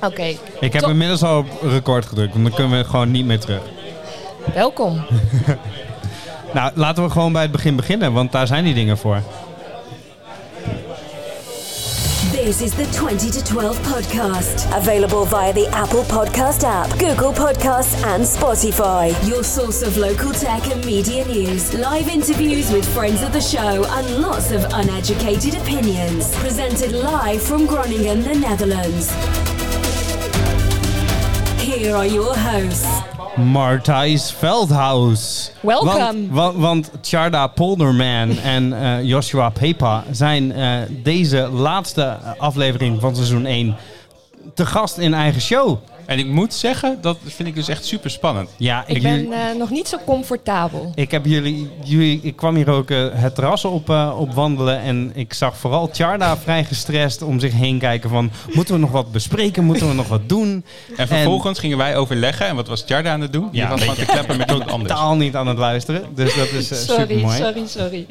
Oké, Ik heb Top. inmiddels al op record gedrukt, want dan kunnen we gewoon niet meer terug. welkom. Nou, laten we gewoon bij het begin beginnen, want daar zijn die dingen voor. This is the 20 to 12 podcast, available via the Apple Podcast app, Google Podcasts, and Spotify. Your source of local tech and media news, live interviews with friends of the show, and lots of uneducated opinions. Presented live from Groningen, the Netherlands. Here are your hosts. Martijs Veldhuis. Welkom. Want, wa- want Charda Polderman en eh, Joshua Pepa zijn eh, deze laatste aflevering van seizoen 1 te gast in eigen show. En ik moet zeggen, dat vind ik dus echt super spannend. Ja, Ik ben eh, nog niet zo comfortabel. Ik, heb jullie, jullie, ik kwam hier ook eh, het terras op, eh, op wandelen en ik zag vooral Charda vrij gestrest om zich heen kijken van... Moeten we nog wat bespreken? Moeten we nog wat doen? En vervolgens gingen wij overleggen. En wat was Tjarda aan het doen? Die Ja, was gewoon te kleppen met iemand anders. Totaal niet aan het luisteren, dus dat is super Sorry, mooi. sorry, sorry.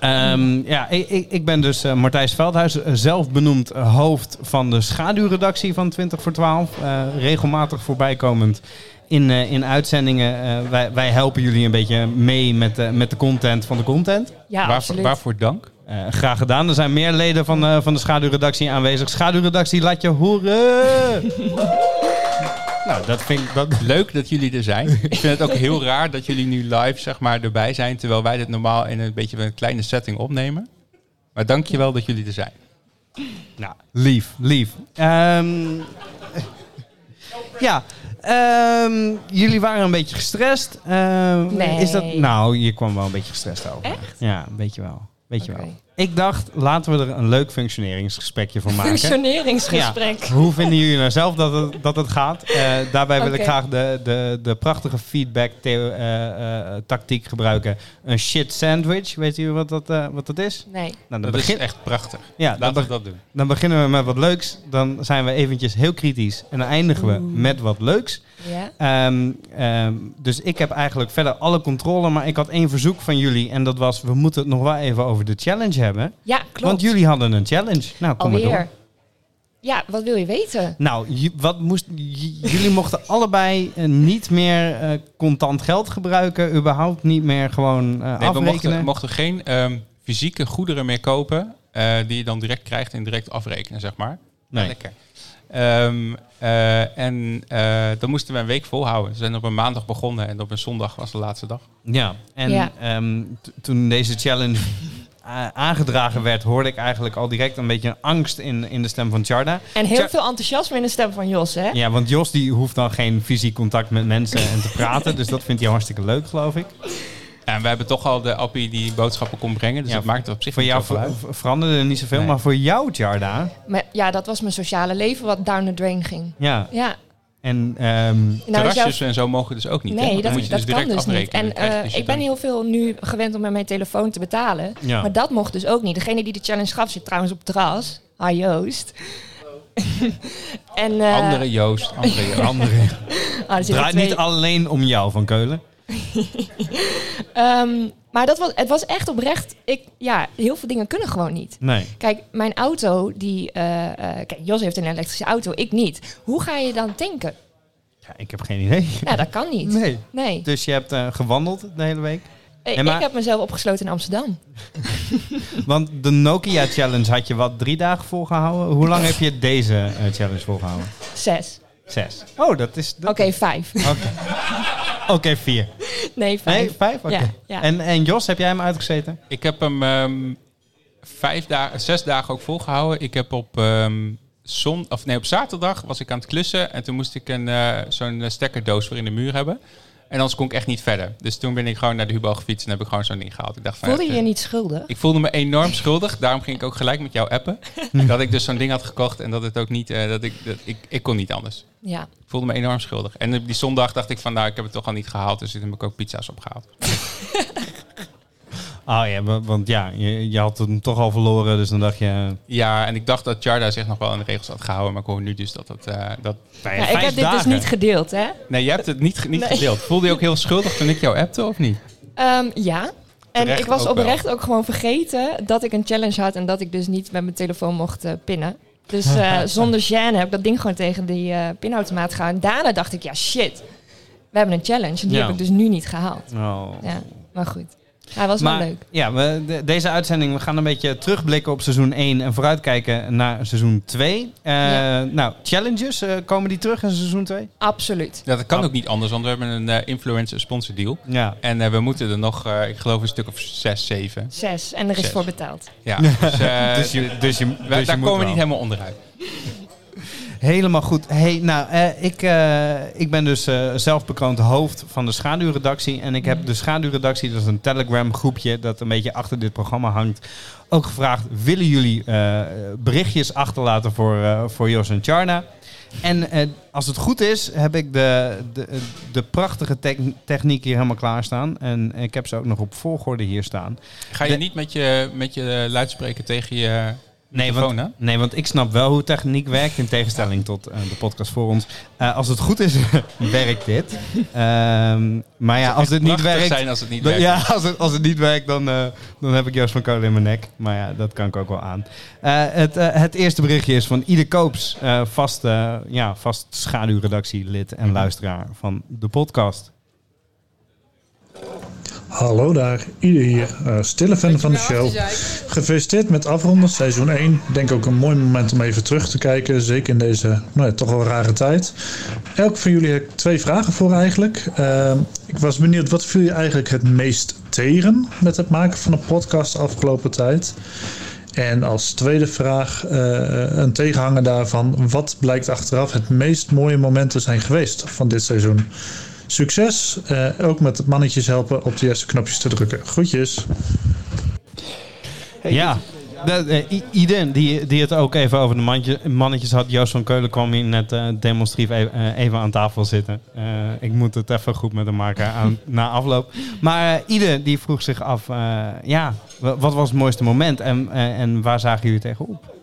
Ehm, ja, ik, ik, ik ben dus eh Martijs Veldhuis, eh, zelf benoemd eh, hoofd van de schaduwredactie van 20 voor 12. eh, regelmatig voorbijkomend in, eh, in uitzendingen. Eh, wij, wij helpen jullie een beetje mee met, de- met de content van de content. Ja, Waarvoor, absoluut. waarvoor dank? Eh, graag gedaan. Er zijn meer leden van, eh, van de schaduwredactie aanwezig. Schaduwredactie, laat je horen! nou, dat vind ik... Dat... Leuk dat jullie er zijn. Ik vind het ook heel raar dat jullie nu live zeg maar, erbij zijn. Terwijl wij dit normaal in een beetje een kleine setting opnemen. Maar dank je wel dat jullie er zijn. Nou, lief, lief. Ehm, ja, ehm, jullie waren een beetje gestrest. Ehm, Nee. Is dat, nou, je kwam wel een beetje gestrest over. Echt? Ja, een beetje wel. Beetje Oké. wel. Ik dacht, laten we er een leuk functioneringsgesprekje van maken. Functioneringsgesprek. Ja, hoe vinden jullie nou zelf dat het, dat het gaat? Eh, daarbij wil Oké. ik graag de, de, de prachtige feedback theo- eh, eh, eh, tactiek gebruiken. Een shit sandwich. Weet jullie wat dat, eh, wat dat is? Nee. Nou, Dat begin- is echt prachtig. Ja, dan Laten beg- we dat doen. dan beginnen we met wat leuks. Dan zijn we eventjes heel kritisch. En dan eindigen we met wat leuks. Ja. Ehm, ehm, dus ik heb eigenlijk verder alle controle. Maar ik had één verzoek van jullie. En dat was, we moeten het nog wel even over de challenge hebben. ja, klopt. Want jullie hadden een challenge. Nou, kom maar door. Alweer. Ja, wat wil je weten? Nou, j- wat moest, j- jullie mochten allebei eh, niet meer eh, contant geld gebruiken. Überhaupt niet meer gewoon eh Nee, we afrekenen. mochten, mochten geen ehm, fysieke goederen meer kopen. eh, die je dan direct krijgt en direct afrekenen, zeg maar. Nee. Lekker. Ehm, eh, en eh dat moesten we een week volhouden. We zijn op een maandag begonnen en op een zondag was de laatste dag. Ja, en Ja. ehm, t- toen deze challenge a- aangedragen werd, hoorde ik eigenlijk al direct een beetje een angst in, in de stem van Charda. En heel Tja- veel enthousiasme in de stem van Jos, hè? Ja, want Jos die hoeft dan geen fysiek contact met mensen en te praten, dus dat vindt hij hartstikke leuk, geloof ik. En we hebben toch al de appie die boodschappen kon brengen. Dus Ja, dat maakt het op zich Voor niet jou zoveel uit. ver- veranderde er niet zoveel, Nee. maar voor jou, Charda, Maar, ja, dat was mijn sociale leven wat down the drain ging. ja. Ja. En ehm, Nou, is jouw- Terrasjes en zo mogen dus ook niet. hè? Nee, Dan dat, moet je dat dus direct kan dus niet. afrekenen. En Dan krijg je eh, dus je ik ben dan- heel veel nu gewend om met mijn telefoon te betalen. Ja. Maar dat mocht dus ook niet. Degene die de challenge gaf zit trouwens op het terras. Hi Joost. en, eh, Andere Joost, andere Joost. andere, ah, er zitten draait twee- niet alleen om jou van Keulen. Ehm, maar dat was, het was echt oprecht. Ik, ja, heel veel dingen kunnen gewoon niet. Nee. Kijk, mijn auto, die. eh, eh, kijk, Jos heeft een elektrische auto, ik niet. Hoe ga je dan tanken? Ja, ik heb geen idee. Nou, dat kan niet. Nee. Nee. Dus je hebt eh, gewandeld de hele week. Eh, maar- Ik heb mezelf opgesloten in Amsterdam. Want de Nokia Challenge had je wat drie dagen volgehouden. Hoe lang heb je deze eh, challenge volgehouden? Zes. Zes. Oh, dat is. Oké, dat- vijf. Oké, Oké, vier. nee, vijf. Nee, vijf? Oké. Ja, ja. En, en Jos, heb jij hem uitgezeten? Ik heb hem ehm, vijf dagen, zes dagen ook volgehouden. Ik heb op, ehm, zon, of nee, op zaterdag was ik aan het klussen en toen moest ik een, eh, zo'n eh, stekkerdoos voor in de muur hebben. En anders kon ik echt niet verder. Dus toen ben ik gewoon naar de Hubo gefietst en heb ik gewoon zo'n ding gehaald. Ik dacht van, Voelde ja, je het, je niet schuldig? Ik voelde me enorm schuldig. Daarom ging ik ook gelijk met jou appen. dat ik dus zo'n ding had gekocht en dat het ook niet, eh, dat ik, dat ik, ik kon niet anders. Ja. Ik voelde me enorm schuldig. En op die zondag dacht ik van, nou, ik heb het toch al niet gehaald. Dus toen heb ik ook pizza's opgehaald. Oh ja, wa- want ja, je, je had hem toch al verloren. Dus dan dacht je. eh, Ja, en ik dacht dat Jarda zich nog wel aan de regels had gehouden, maar ik hoor nu dus dat dat... eh, dat... vijf, Ja, ik heb vijf dit dagen. dus niet gedeeld, hè? Nee, je hebt het niet, ge- niet gedeeld. Voelde je ook heel schuldig toen ik jou appte, of niet? Ehm, ja. En Terecht ik was ook wel. oprecht ook gewoon vergeten dat ik een challenge had en dat ik dus niet met mijn telefoon mocht eh, pinnen. Dus eh, zonder gêne heb ik dat ding gewoon tegen die eh, pinautomaat gehouden. En daarna dacht ik, ja shit, we hebben een challenge. En die Ja. heb ik dus nu niet gehaald. Oh. Ja, maar goed. Hij was maar wel leuk. ja, we, de- deze uitzending, we gaan een beetje terugblikken op seizoen 1 en vooruitkijken naar seizoen 2. Eh, Ja. Nou, challenges, eh, komen die terug in seizoen 2? Absoluut. Ja, dat kan ook niet anders, want we hebben een eh, influencer-sponsor deal. Ja. En eh, we moeten er nog, eh, ik geloof, een stuk of zes, zeven. Zes. En er is Zes. voor betaald. Ja, dus, eh, Dus je, dus je, wij- dus je daar moet komen we wel. niet helemaal onderuit. Helemaal goed. Hey, nou, eh, ik, eh, ik ben dus eh zelfbekroond hoofd van de schaduwredactie. En ik heb de schaduwredactie, dat is een Telegram groepje dat een beetje achter dit programma hangt, ook gevraagd: willen jullie eh, berichtjes achterlaten voor, eh, voor Jos en Charna? En eh, als het goed is, heb ik de, de, de prachtige tec- techniek hier helemaal klaarstaan. En ik heb ze ook nog op volgorde hier staan. Ga je De- niet met je, met je eh, luidspreker tegen je Nee microfoon, want, hè? nee, want ik snap wel hoe techniek werkt in tegenstelling tot eh, de podcast voor ons. Eh, als het goed is, werkt dit. Ehm, maar ja, als dit niet Prachtig werkt, zijn als het niet dan- werkt. ja, als, het, als het niet werkt dan, eh, dan heb ik Joost van Kolen in mijn nek. Maar ja, dat kan ik ook wel aan. Eh, het, eh, het eerste berichtje is van Ide Koops, eh, vast, eh, ja, vast schaduwredactielid en luisteraar van de podcast. Hallo daar, ieder hier. eh, stille fan van de show. Gefeliciteerd met afronden, seizoen 1. Denk ook een mooi moment om even terug te kijken. Zeker in deze nou ja, toch wel rare tijd. Elk van jullie heb ik twee vragen voor eigenlijk. Ehm, ik was benieuwd, wat viel je eigenlijk het meest tegen met het maken van een podcast de afgelopen tijd? En als tweede vraag, eh, een tegenhanger daarvan. Wat blijkt achteraf het meest mooie moment te zijn geweest van dit seizoen? Succes, eh, ook met het mannetjes helpen op de juiste knopjes te drukken. Groetjes. ja. Dat, eh, i- Iden, die, die het ook even over de mandje- mannetjes had. Joost van Keulen kwam hier net eh, demonstratief e- eh, even aan tafel zitten. Eh, ik moet het even goed met hem maken aan, na afloop. Maar eh Iden, die vroeg zich af, eh, ja, wa- wat was het mooiste moment en, eh, en waar zagen jullie tegenop?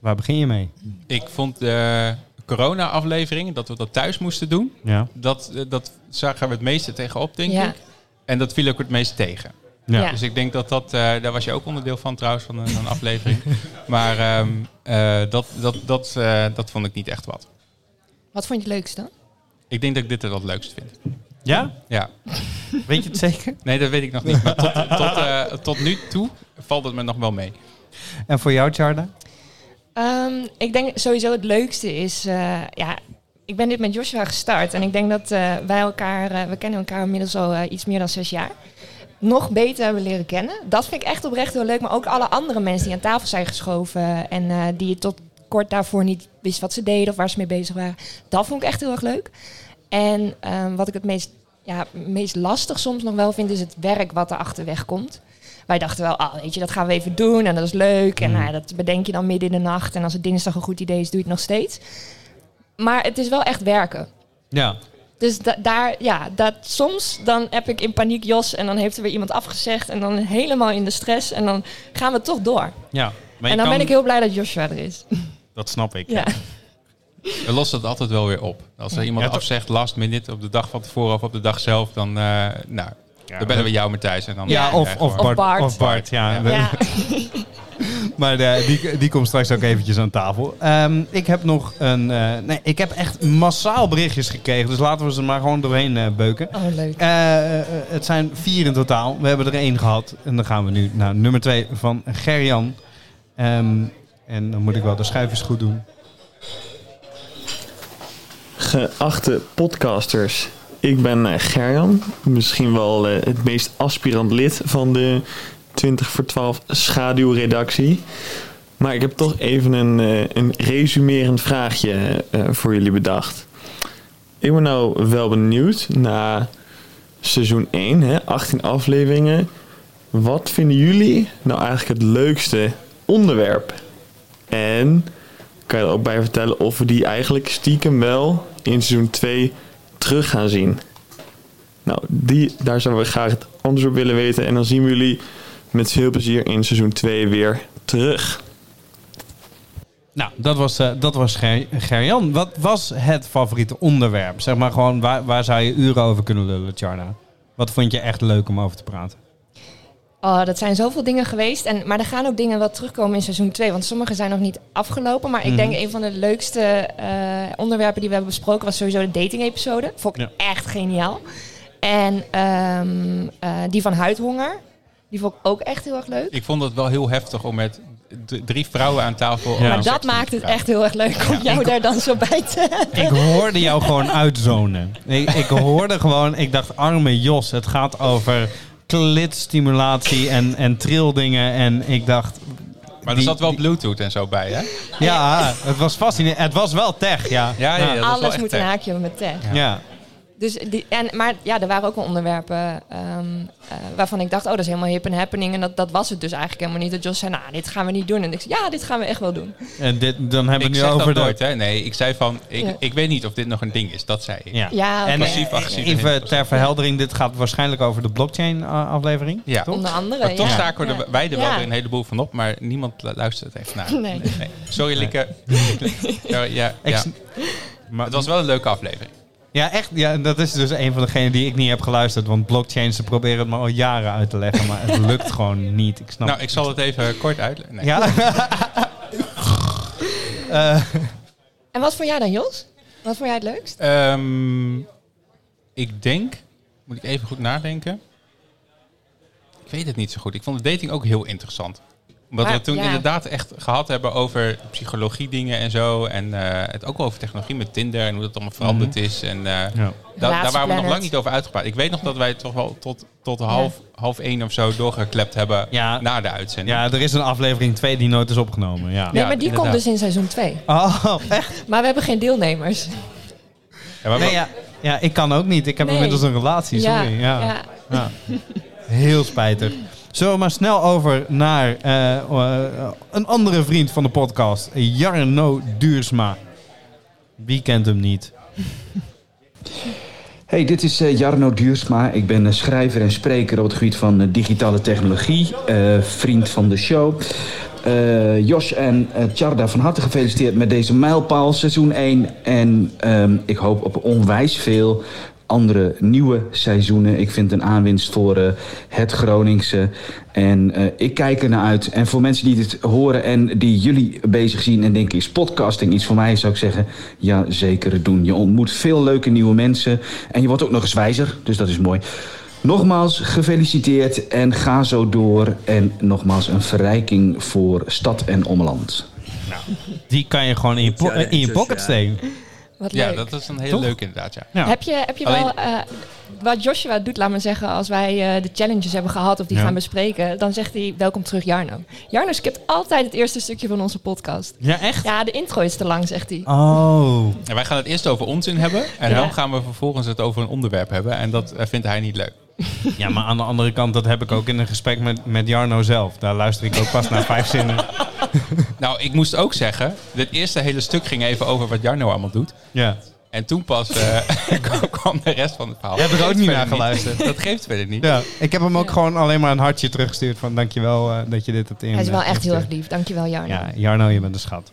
Waar begin je mee? Ik vond de corona-aflevering, dat we dat thuis moesten doen, Ja. dat, eh, dat zagen we het meeste tegenop, denk Ja. ik. En dat viel ook het meest tegen. Ja. Ja. Dus ik denk dat dat, eh, daar was je ook onderdeel van trouwens, van een, van een aflevering. Maar ehm, eh, dat, dat, dat, eh, dat vond ik niet echt wat. Wat vond je het leukste dan? Ik denk dat ik dit er het leukst vind. Ja? Ja, Weet je het zeker? nee, dat weet ik nog niet. Maar tot, tot, eh, tot nu toe valt het me nog wel mee. En voor jou, Charda? Ehm, ik denk sowieso het leukste is... eh, ja, ik ben dit met Joshua gestart. En ik denk dat eh, wij elkaar... eh, we kennen elkaar inmiddels al eh, iets meer dan zes jaar. Nog beter hebben leren kennen. Dat vind ik echt oprecht heel leuk. Maar ook alle andere mensen die aan tafel zijn geschoven... en eh, die je tot kort daarvoor niet wist wat ze deden... of waar ze mee bezig waren. Dat vond ik echt heel erg leuk. En ehm, wat ik het meest, ja, meest lastig soms nog wel vind... is het werk wat er achterweg komt. wij dachten wel, ah, weet je, dat gaan we even doen en dat is leuk. En nou ja, dat bedenk je dan midden in de nacht. En als het dinsdag een goed idee is, doe je het nog steeds. Maar het is wel echt werken. Ja. Dus da- daar, ja, dat soms dan heb ik in paniek Jos en dan heeft er weer iemand afgezegd. En dan helemaal in de stress en dan gaan we toch door. ja. Maar en dan ben ik heel blij dat Joshua er is. Dat snap ik. Ja, We lossen dat altijd wel weer op. Als er iemand Ja, toch? afzegt last minute op de dag van tevoren of op de dag zelf, dan, eh, nou, dan bellen we jou Matthijs. En dan eh, Ja, of, krijgen we- of, Bart, Bart. Of Bart, ja. Ja. ja. Maar eh, die, die komt straks ook eventjes aan tafel. Ehm, ik heb nog een... eh, nee, ik heb echt massaal berichtjes gekregen. Dus laten we ze maar gewoon doorheen eh, beuken. Oh, leuk. Eh, eh, het zijn vier in totaal. We hebben er één gehad. En dan gaan we nu naar nummer twee van Gerjan. Ehm, en dan moet ik wel de schuifjes goed doen. Geachte podcasters, ik ben eh, Gerjan, misschien wel eh, het meest aspirant lid van de 20 voor 12 schaduwredactie. Maar ik heb toch even een, eh, een resumerend vraagje eh, voor jullie bedacht. Ik ben nou wel benieuwd na seizoen 1, hè, 18 afleveringen. Wat vinden jullie nou eigenlijk het leukste onderwerp? En kan je er ook bij vertellen of we die eigenlijk stiekem wel in seizoen 2 terug gaan zien. Nou, die, daar zouden we graag het antwoord op willen weten. En dan zien we jullie met veel plezier in seizoen 2 weer terug. Nou, dat was, eh, dat was Ger- Gerjan. Wat was het favoriete onderwerp? Zeg maar gewoon, waar, waar zou je uren over kunnen lullen, Charna? Wat vond je echt leuk om over te praten? Oh, dat zijn zoveel dingen geweest. En, maar er gaan ook dingen wel terugkomen in seizoen 2. Want sommige zijn nog niet afgelopen. Maar ik denk een van de leukste eh, onderwerpen die we hebben besproken... was sowieso de dating-episode. Vond ik echt geniaal. En ehm, eh, die van huidhonger. Die vond ik ook echt heel erg leuk. Ik vond het wel heel heftig om met d- drie vrouwen aan tafel... over maar seks dat te maakt het praten. echt heel erg leuk om jou daar dan zo bij te hebben. Ik hoorde jou gewoon uitzonen. Ik, ik hoorde gewoon, ik dacht, arme Jos, het gaat over klitstimulatie en, en trildingen. En ik dacht, Maar er Die- zat wel die- Bluetooth en zo bij, hè? ja, het was fascinerend. Het was wel tech, ja. Ja, ja, ja. Alles echt eh, moet een tech. haakje hebben met tech. Ja. Dus die, en, maar ja, er waren ook wel onderwerpen ehm, eh, waarvan ik dacht, oh, dat is helemaal hip en happening. En dat, dat was het dus eigenlijk helemaal niet. Dat Jos zei, nou, dit gaan we niet doen. En ik zei, ja, dit gaan we echt wel doen. En dit, dan hebben Ik we het nu zeg over dat de... nooit, hè? Nee, ik zei van... Ik, Ja. ik weet niet of dit nog een ding is. Dat zei ik. Ja. Ja, oké. en Passief, agressief. even ter verheldering, dit gaat waarschijnlijk over de blockchain-aflevering. Ja. Toch? Onder andere. Maar toch ja. staken we Ja. er, wij er wel Ja. weer een heleboel van op, maar niemand lu- luistert echt naar. Nee. Sorry, Likke. Ja, ja, Ik ja. s- Maar, Het was wel een leuke aflevering. Ja, echt. Ja, dat is dus een van degenen die ik niet heb geluisterd. Want blockchains, ze proberen het me al jaren uit te leggen. Maar het lukt gewoon niet. Ik snap Nou, ik zal het even kort uitleggen. Nee. Ja? En wat vond jij dan, Jos? Wat vond jij het leukst? Ehm, ik denk, moet ik even goed nadenken. Ik weet het niet zo goed. Ik vond de dating ook heel interessant. Omdat Maar, we toen ja. inderdaad echt gehad hebben over psychologie dingen en zo. En eh, het ook wel over technologie met Tinder en hoe dat allemaal veranderd Mhm. is. En eh, da- daar waren we nog Relatieplanet. lang niet over uitgepraat. Ik weet nog dat wij toch wel tot, tot half, half één of zo doorgeklept hebben Ja. na de uitzending. ja, er is een aflevering 2 die nooit is opgenomen. Ja. Nee, maar die inderdaad. komt dus in seizoen 2. Oh, echt? Maar we hebben geen deelnemers. Ja, Nee, maar wa- ja. ja, ik kan ook niet. Ik heb Nee. inmiddels een relatie. Sorry. Ja. Ja. Heel spijtig. Zo, maar snel over naar eh, eh, een andere vriend van de podcast. Jarno Duursma. Wie kent hem niet? Hey, dit is eh, Jarno Duursma. Ik ben eh, schrijver en spreker op het gebied van eh, digitale technologie. eh, vriend van de show. Eh, Jos en eh Tjarda, van harte gefeliciteerd met deze mijlpaal, seizoen 1. En ehm, ik hoop op onwijs veel andere nieuwe seizoenen. Ik vind een aanwinst voor eh, het Groningse. En eh, ik kijk er naar uit. En voor mensen die dit horen en die jullie bezig zien en denken: is podcasting iets voor mij? Zou ik zeggen: ja, zeker het doen. Je ontmoet veel leuke nieuwe mensen. En je wordt ook nog eens wijzer. Dus dat is mooi. Nogmaals gefeliciteerd en ga zo door. En nogmaals een verrijking voor stad en omland. Die kan je gewoon in je, po- eh, in je pocket steken. Wat ja, leuk. dat is een heel Toch? leuk inderdaad. Ja. Ja. Heb je, heb je wel... eh, wat Joshua doet, laat maar zeggen, als wij eh, de challenges hebben gehad of die Ja. gaan bespreken, dan zegt hij welkom terug Jarno. Jarno skipt altijd het eerste stukje van onze podcast. Ja, echt? Ja, de intro is te lang, zegt hij. Oh. En wij gaan het eerst over onzin hebben. En Ja. dan gaan we vervolgens het over een onderwerp hebben. En dat eh, vindt hij niet leuk. Ja, maar aan de andere kant, dat heb ik ook in een gesprek met, met Jarno zelf. Daar luister ik ook pas naar vijf zinnen. Nou, ik moest ook zeggen, dit eerste hele stuk ging even over wat Jarno allemaal doet. Ja. En toen pas eh, kwam- kwam de rest van het verhaal. Heb ik ook Geeft niet verder naar geluisterd. Dat geeft verder niet. ja. Ik heb hem ook gewoon alleen maar een hartje teruggestuurd van dankjewel eh dat je dit hebt in. Hij is wel eh, echt heel erg ingestuurd. lief. Dankjewel, Jarno. Ja, Jarno, je bent een schat.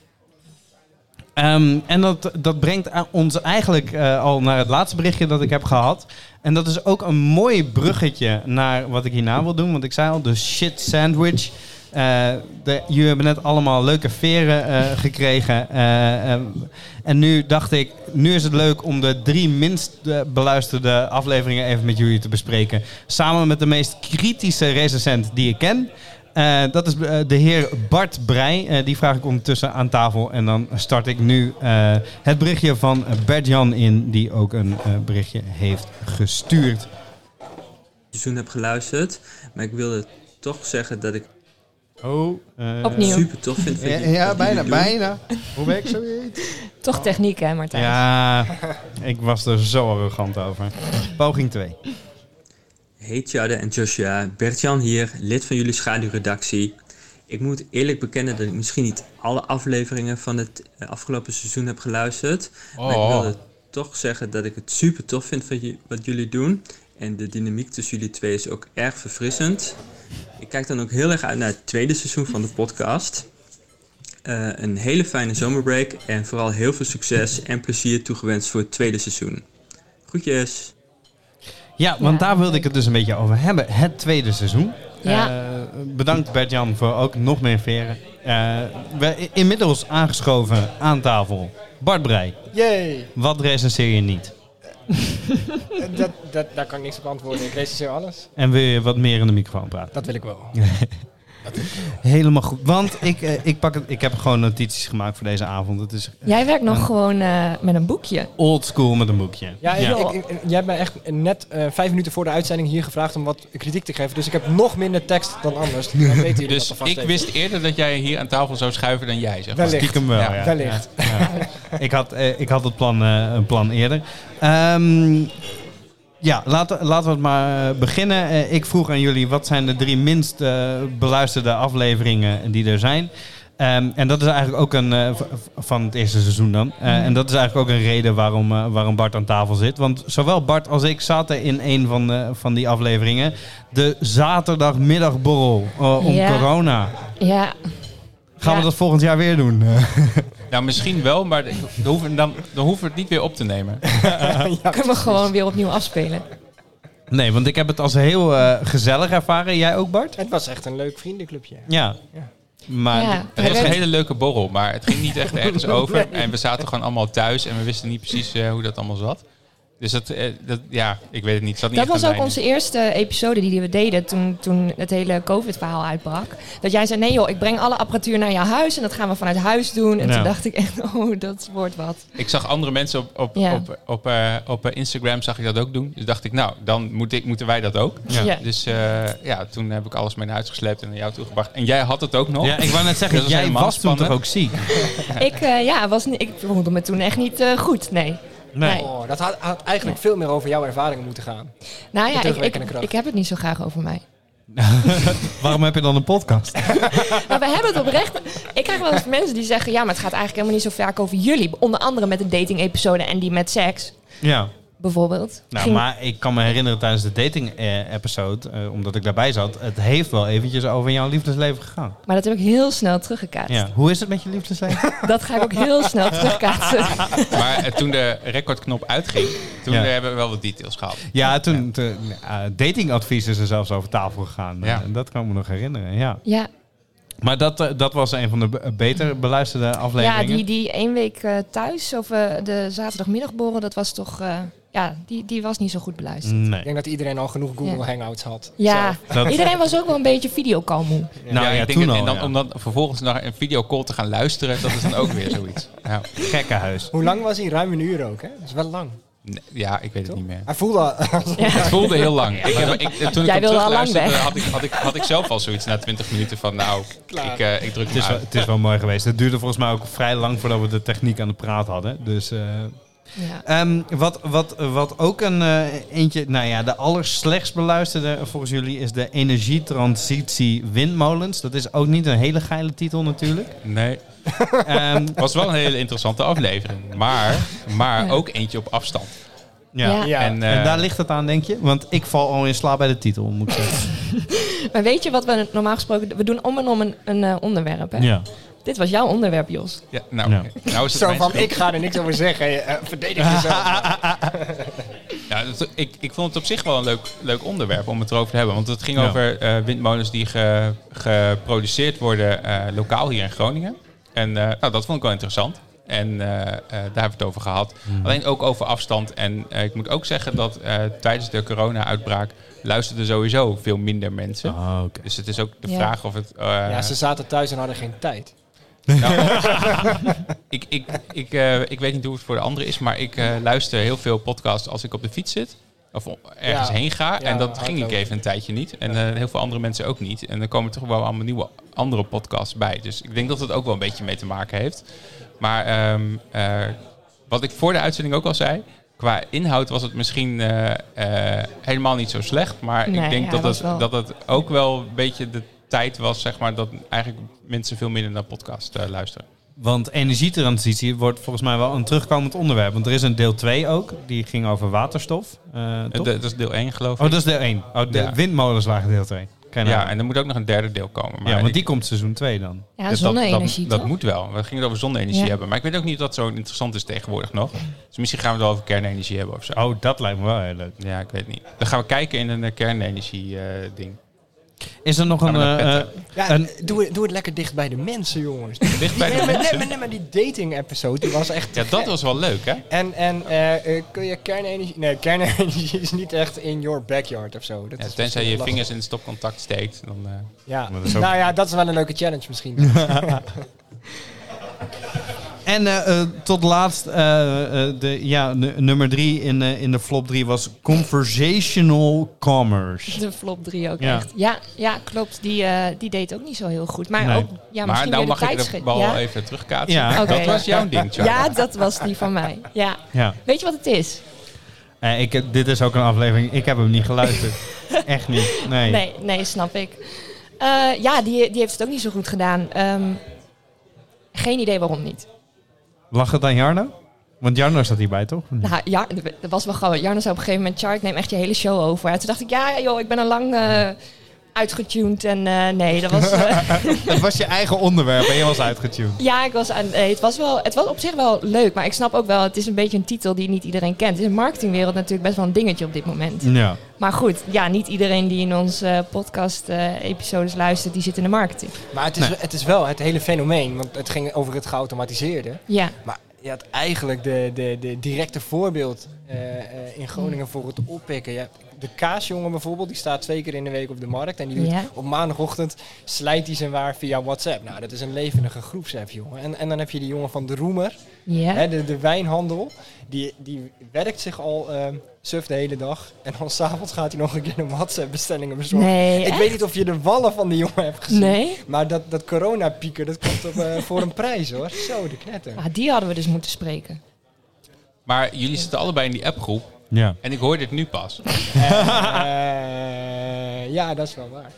Ehm, en dat, dat brengt a- ons eigenlijk eh, al naar het laatste berichtje dat ik heb gehad. En dat is ook een mooi bruggetje naar wat ik hierna wil doen. Want ik zei al, de shit sandwich. Eh, de, jullie hebben net allemaal leuke veren eh, gekregen. Eh, ehm, en nu dacht ik, nu is het leuk om de drie minst eh, beluisterde afleveringen even met jullie te bespreken. Samen met de meest kritische recensent die ik ken. Eh, dat is eh, de heer Bart Breij. Eh, die vraag ik ondertussen aan tafel. En dan start ik nu eh, het berichtje van Bert-Jan in, die ook een eh, berichtje heeft gestuurd. seizoen heb geluisterd. Maar ik wilde toch zeggen dat ik Oh, Opnieuw. super tof vind. wat Ja, jullie- wat jullie bijna, doen. bijna. Hoe ben ik zoiets? Toch techniek, hè, Martijn? Ja, ik was er zo arrogant over. Poging 2. Hey Tjade en Joshua, Bertjan hier, lid van jullie schaduwredactie. Ik moet eerlijk bekennen dat ik misschien niet alle afleveringen van het eh, afgelopen seizoen heb geluisterd. Maar ik Oh. wilde toch zeggen dat ik het super tof vind van ju- wat jullie doen. En de dynamiek tussen jullie twee is ook erg verfrissend. Ik kijk dan ook heel erg uit naar het tweede seizoen van de podcast. Eh, een hele fijne zomerbreak en vooral heel veel succes en plezier toegewenst voor het tweede seizoen. Groetjes! Ja, want Ja, daar wilde ik het dus een beetje over hebben. Het tweede seizoen. Ja. Ja. Eh, bedankt Bert-Jan voor ook nog meer veren. Eh, we, inmiddels aangeschoven aan tafel. Bart Breij, Jee, wat recenseer je niet? dat, dat, daar kan ik niks op antwoorden. Ik recenseer alles. En wil je wat meer in de microfoon praten? Dat wil ik wel. Helemaal goed. Want ik, eh, ik, pak het, ik heb gewoon notities gemaakt voor deze avond. Het is Jij werkt nog gewoon eh, met een boekje. old school met een boekje. Ja, ik, Ja. ik- ik- jij hebt mij echt net eh, vijf minuten voor de uitzending hier gevraagd om wat kritiek te geven. Dus ik heb nog minder tekst dan anders. Dan weten jullie Dus dat ik wist eerder dat jij hier aan tafel zou schuiven dan jij, zeg maar. Wellicht. Stiekem wel, Ja, Oh ja. wellicht. Ja, ja. ik, had, eh, ik had het plan, eh, een plan eerder. Ehm, ja, laten, laten we het maar eh, beginnen. Eh, ik vroeg aan jullie, wat zijn de drie minst eh, beluisterde afleveringen die er zijn? Ehm, en dat is eigenlijk ook een, eh, v- v- van het eerste seizoen dan. Eh, Mm. En dat is eigenlijk ook een reden waarom, eh, waarom Bart aan tafel zit. Want zowel Bart als ik zaten in een van, de, van die afleveringen. De zaterdagmiddagborrel eh, om Ja. corona. Ja, Gaan Ja. we dat volgend jaar weer doen? Nou, misschien wel, maar dan hoeven, dan, dan hoeven we het niet weer op te nemen. kunnen we gewoon weer opnieuw afspelen. Nee, want ik heb het als heel eh, gezellig ervaren. Jij ook, Bart? Het was echt een leuk vriendenclubje. Ja. Maar Ja. d- Het was een Red- hele leuke borrel, maar het ging niet echt ergens over. En we zaten gewoon allemaal thuis en we wisten niet precies eh, hoe dat allemaal zat. Dus dat, eh, dat, ja, ik weet het niet. Het zat niet Dat echt was aan ook lijnen. onze eerste episode die we deden toen, toen het hele COVID-verhaal uitbrak. Dat jij zei, nee joh, ik breng alle apparatuur naar jouw huis en dat gaan we vanuit huis doen. En Ja. toen dacht ik echt, oh, dat wordt wat. Ik zag andere mensen op, op, Ja. op, op, eh, op eh, Instagram zag ik dat ook doen. Dus dacht ik, nou, dan moet ik, moeten wij dat ook. Ja. Ja. Dus eh, ja, toen heb ik alles mee naar huis gesleept en naar jou toegebracht. En jij had het ook nog. ja, ik wou net Dat zeggen, was jij helemaal was toen toch spannend. ook ziek? Ik, eh, ja, was, ni- ik voelde me toen echt niet eh, goed, nee. Nee. Oh, dat had, had eigenlijk veel meer over jouw ervaringen moeten gaan. Nou ja, ik, ik, terugwerkende kracht. ik heb het niet zo graag over mij. Waarom heb je dan een podcast? Maar we hebben het oprecht. Ik krijg wel eens mensen die zeggen: ja, maar het gaat eigenlijk helemaal niet zo vaak over jullie. Onder andere met de dating-episode en die met seks, Ja. bijvoorbeeld. Nou, Ging- maar ik kan me herinneren tijdens de dating-episode, eh, omdat ik daarbij zat, het heeft wel eventjes over jouw liefdesleven gegaan. maar dat heb ik heel snel teruggekaatst. Ja. Hoe is het met je liefdesleven? Dat ga ik ook heel snel terugkaatsen. Maar eh, toen de recordknop uitging, toen Ja. eh, hebben we wel wat details gehad. ja, toen toen, eh, datingadvies is er zelfs over tafel gegaan. Ja. Eh, Dat kan ik me nog herinneren, ja. Ja, Maar dat, eh, dat was een van de be- beter beluisterde ja afleveringen. die, die één week eh, thuis of eh, de zaterdagmiddagborrel, dat was toch. eh, ja, die, die was niet zo goed beluisterd. Ik Nee. denk dat iedereen al genoeg Google Ja. Hangouts had. Ja, Zelf. Mm. Dat- iedereen was ook wel een beetje videocall moe. Nou ja, ik denk toen dat- al. En dan, ja. om dan vervolgens naar een videocall te gaan luisteren, dat is dan ook weer zoiets. Ja, Gekkenhuis. Hoe lang was hij? Ruim een uur ook, hè? Dat is wel lang. Nee, ja ik weet het niet meer. Hij voelde al... Het voelde heel lang. Ik heb, ik, toen ik Jij hem wilde al lang terugluisterde, weg. had ik, had, ik, had ik zelf al zoiets na 20 minuten van, nou, ik, eh, ik druk Het hem is, wel, uit. het is wel mooi geweest. Het duurde volgens mij ook vrij lang voordat we de techniek aan de praat hadden. Dus, eh, Ja. ehm, wat, wat, wat ook een eh, eentje, nou ja, de allerslechtst beluisterde volgens jullie is de energietransitie windmolens. Dat is ook niet een hele geile titel natuurlijk. Nee, Ehm, was wel een hele interessante aflevering. Maar, maar ook eentje op afstand. ja. Ja. Ja. En, eh, en daar ligt het aan, denk je? Want ik val al in slaap bij de titel, moet ik zeggen. Maar weet je wat we normaal gesproken We doen om en om een, een eh, onderwerp. Hè? ja. Dit was jouw onderwerp, Jos. ja, nou, Ja. nou is het Zo mijn van, schuld. ik ga er niks over zeggen. Je, eh, verdedig jezelf. Ja, dat- ik, ik vond het op zich wel een leuk, leuk onderwerp om het erover te hebben. Want het ging Ja. over eh, windmolens die ge- geproduceerd worden eh, lokaal hier in Groningen. En eh, nou, dat vond ik wel interessant. En eh, eh, daar hebben we het over gehad. Hmm. Alleen ook over afstand. En eh, ik moet ook zeggen dat eh, tijdens de corona-uitbraak luisterden sowieso veel minder mensen. Ah, oké. Dus het is ook de Ja. vraag of het. eh, Ja, ze zaten thuis en hadden geen tijd. ik, ik, ik, eh, ik weet niet hoe het voor de anderen is, maar ik eh, luister heel veel podcasts als ik op de fiets zit. Of o- ergens Ja. heen ga. Ja, en dat ging ik hardlopen. even een tijdje niet. En eh, heel veel andere mensen ook niet. En er komen toch wel allemaal nieuwe andere podcasts bij. Dus ik denk dat het ook wel een beetje mee te maken heeft. Maar ehm, eh, wat ik voor de uitzending ook al zei. Qua inhoud was het misschien eh, eh, helemaal niet zo slecht. Maar Nee, ik denk ja, dat, was het, wel- dat het ook wel een beetje de tijd was, zeg maar, dat eigenlijk mensen veel minder naar podcasts eh, luisteren. Want energietransitie wordt volgens mij wel een terugkomend onderwerp. Want er is een deel 2 ook, die ging over waterstof. eh, Eh, toch? dat is deel 1 geloof ik. Oh, dat is deel 1. Oh, de Ja. windmolens lagen deel 2. Ja, en er moet ook nog een derde deel komen. Maar ja, want ik- die komt seizoen 2 dan. Ja, dus dat- zonne-energie. Dat, dat, toch? moet wel. We gingen het over zonne-energie Ja. hebben. Maar ik weet ook niet of dat zo interessant is tegenwoordig nog. Dus misschien gaan we het wel over kernenergie hebben of zo. Oh, dat lijkt me wel heel leuk. Ja, ik weet niet. Dan gaan we kijken in een eh, kernenergie eh, ding. Is er nog een, Gaan we naar eh, petten? Ja, eh, En- doe, het- doe het lekker dicht bij de mensen, jongens. Nee, Dicht bij de maar, nee, mensen. maar, nee, maar die dating-episode die was echt... te Ja, dat gek. was wel leuk, hè? En, en eh, eh, kun je kernenergie... Nee, kernenergie is niet echt in your backyard of zo. Dat Ja, is tenzij misschien je lastig. vingers in het stopcontact steekt. Dan, eh, Ja. Maar dat is ook- Nou ja, dat is wel een leuke challenge misschien. En eh, eh, tot laatst, eh, eh, de, ja, n- nummer drie in, eh, in de flop drie was Conversational Commerce. De flop 3 ook Ja. echt. Ja, ja klopt. Die, eh, die deed ook niet zo heel goed. Maar Nee. ook, ja, maar misschien nou weer mag de ik de tijdschrift. bal ja. even terugkaatsen. Ja. Oké. Dat was jouw ding, Charlie. ja, dat was die van mij. Ja. Ja. Weet je wat het is? Eh, ik, heb- dit is ook een aflevering, ik heb hem niet geluisterd. Echt niet, nee. Nee, nee, snap ik. Eh, ja, die, die heeft het ook niet zo goed gedaan. Ehm, geen idee waarom niet. Lag het aan Jarno? Want Jarno zat hierbij, toch? Nou, ja, dat was wel grappig. Jarno zei op een gegeven moment... Char, ik neem echt je hele show over. En toen dacht ik, ja joh, ik ben al lang eh, uitgetuned. En eh, nee, dat was... eh, Het was je eigen onderwerp en je was uitgetuned. Ja, ik was aan, eh, het, was wel, het was op zich wel leuk, maar ik snap ook wel, het is een beetje een titel die niet iedereen kent. In de marketingwereld natuurlijk best wel een dingetje op dit moment. Ja. Maar goed, ja, niet iedereen die in onze eh, podcast-episodes luistert, die zit in de marketing. maar het is, het is wel het hele fenomeen. Want het ging over het geautomatiseerde. Ja, Maar je had eigenlijk de, de, de directe voorbeeld eh, eh, in Groningen voor het oppikken. Je hebt de kaasjongen bijvoorbeeld, die staat twee keer in de week op de markt. En die doet Ja. op maandagochtend slijt hij zijn waar via WhatsApp. Nou, dat is een levendige groepsapp, jongen. En, en dan heb je die jongen van de Roemer, ja. hè, dus de, de wijnhandel. Die, die werkt zich al eh suf de hele dag. En dan s'avonds gaat hij nog een keer een WhatsApp-bestellingen bezorgen. Nee, Ik echt? weet niet of je de wallen van die jongen hebt gezien. Nee? Maar dat, dat corona-pieken, dat komt op, eh, voor een prijs, hoor. Zo, de knetter. Ah, die hadden we dus moeten spreken. Maar jullie zitten allebei in die appgroep. Ja. En ik hoor dit nu pas. Eh, ja, dat is wel waar.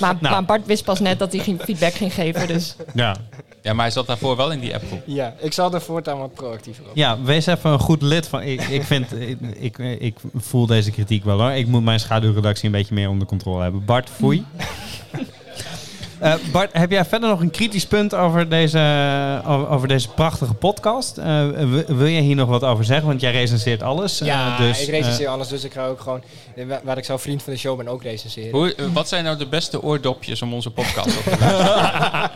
Maar, maar Bart wist pas net dat hij geen feedback ging geven, dus Ja. Ja, maar hij zat daarvoor wel in die appgroep. Ja, ik zal er voortaan wat proactiever op. ja, wees even een goed lid van... Ik, ik, vind, ik, ik, ik voel deze kritiek wel hoor. Ik moet mijn schaduwredactie een beetje meer onder controle hebben. Bart, foei. Eh, Bart, heb jij verder nog een kritisch punt over deze, over, over deze prachtige podcast? Eh, w- wil jij hier nog wat over zeggen? Want jij recenseert alles. Ja, eh, dus, ik recenseer alles, dus ik ga ook gewoon... eh, wa- Waar ik zo vriend van de show ben, ook recenseren. Hoe, eh, wat zijn nou de beste oordopjes om onze podcast op te luisteren?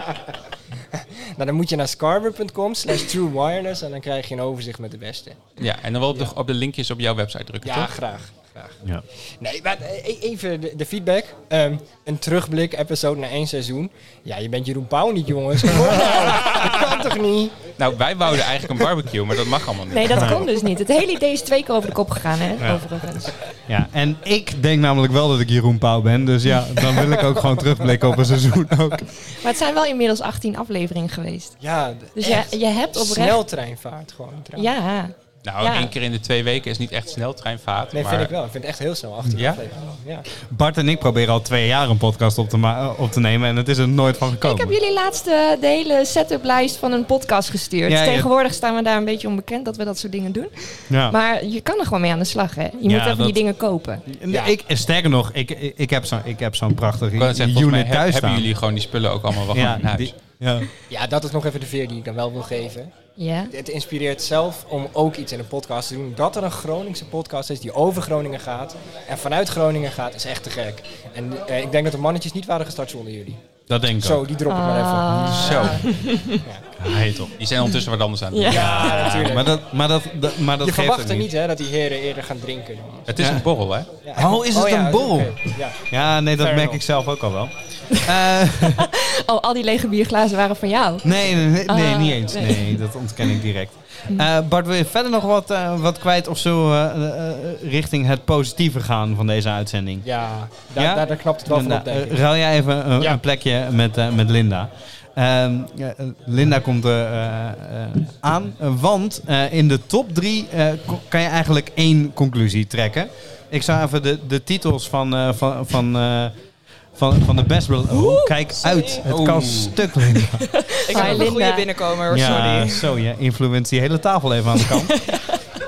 Nou, dan moet je naar scarver.com slash true wireless en dan krijg je een overzicht met de beste. Ja, en dan wel op de, op de linkjes op jouw website drukken, Ja, toch? graag. graag. eh, ja. Nee, maar eh, e- even de, de feedback. Ehm, een terugblik, episode na één seizoen. Ja, je bent Jeroen Pauw niet, jongens. Kom op nou, dat kan toch niet? Nou, wij wouden eigenlijk een barbecue, maar dat mag allemaal niet. nee, dat kon dus niet. Het hele idee is twee keer over de kop gegaan, hè, overigens. Ja, en ik denk namelijk wel dat ik Jeroen Pauw ben. Dus ja, dan wil ik ook gewoon terugblikken op een seizoen ook. Maar het zijn wel inmiddels 18 afleveringen geweest. Ja, d- Dus je, echt. je hebt oprecht... Sneltreinvaart gewoon trouwens. Ja, Nou, Ja. één keer in de twee weken is niet echt sneltreinvaart. Nee, maar vind ik wel. Ik vind het echt heel snel achter Ja? Ja. Bart en ik proberen al twee jaar een podcast op te, ma- op te nemen en het is er nooit van gekomen. Ik heb jullie laatst eh, de hele setuplijst van een podcast gestuurd. Ja, ja. Tegenwoordig staan we daar een beetje onbekend dat we dat soort dingen doen. ja. Maar je kan er gewoon mee aan de slag, hè? Je moet even dat- die dingen kopen. Ja. ik, sterker nog, ik, ik ik heb zo'n ik heb zo'n prachtige Ik wou net zeggen, volgens mij unit he- thuis hebben staan. jullie gewoon die spullen ook allemaal wel ja, gewoon in huis. die- ja. ja, dat is nog even de veer die ik dan wel wil geven. Ja. Het inspireert zelf om ook iets in een podcast te doen. Dat er een Groningse podcast is die over Groningen gaat en vanuit Groningen gaat, is echt te gek. En eh, ik denk dat de mannetjes niet waren gestart zonder jullie. Dat denk ik Zo, ook. die droppen maar even. Zo, Hij toch. die zijn ondertussen wat anders aan het doen. Ja, natuurlijk. Maar dat, maar dat, dat- maar dat je geeft verwacht het er niet hè, dat die heren eerder gaan drinken. Het is een borrel, hè? Ja. Oh, is het een ja, borrel? oké. Ja. Ja, nee, dat Fair merk enough. ik zelf ook al wel. Eh, Oh, al die lege bierglazen waren van jou. nee, nee, nee, nee, Ah, niet eens. Nee. nee. dat ontken ik direct. Hm. Eh, Bart, wil je verder nog wat, eh, wat kwijt of zo eh, eh, eh, richting het positieve gaan van deze uitzending? Ja, daar, Ja? Daar, daar knapt het wel van Nou, op, denk eh, ik. ruil jij even een, Ja. een plekje met, eh, met Linda. Ehm, ja, eh, Linda komt eh, eh, eh, aan, eh, want eh, in de top drie eh, ko- kan je eigenlijk één conclusie trekken. Ik zou even de, de titels van, eh, van, van, eh, van, van de best... bel- Oh, kijk uit, het kan Oeh. stuk, Linda. Ik heb Hi, ook een Linda. goede binnenkomer, hoor, ja, sorry. zo, je influence die hele tafel even aan de kant.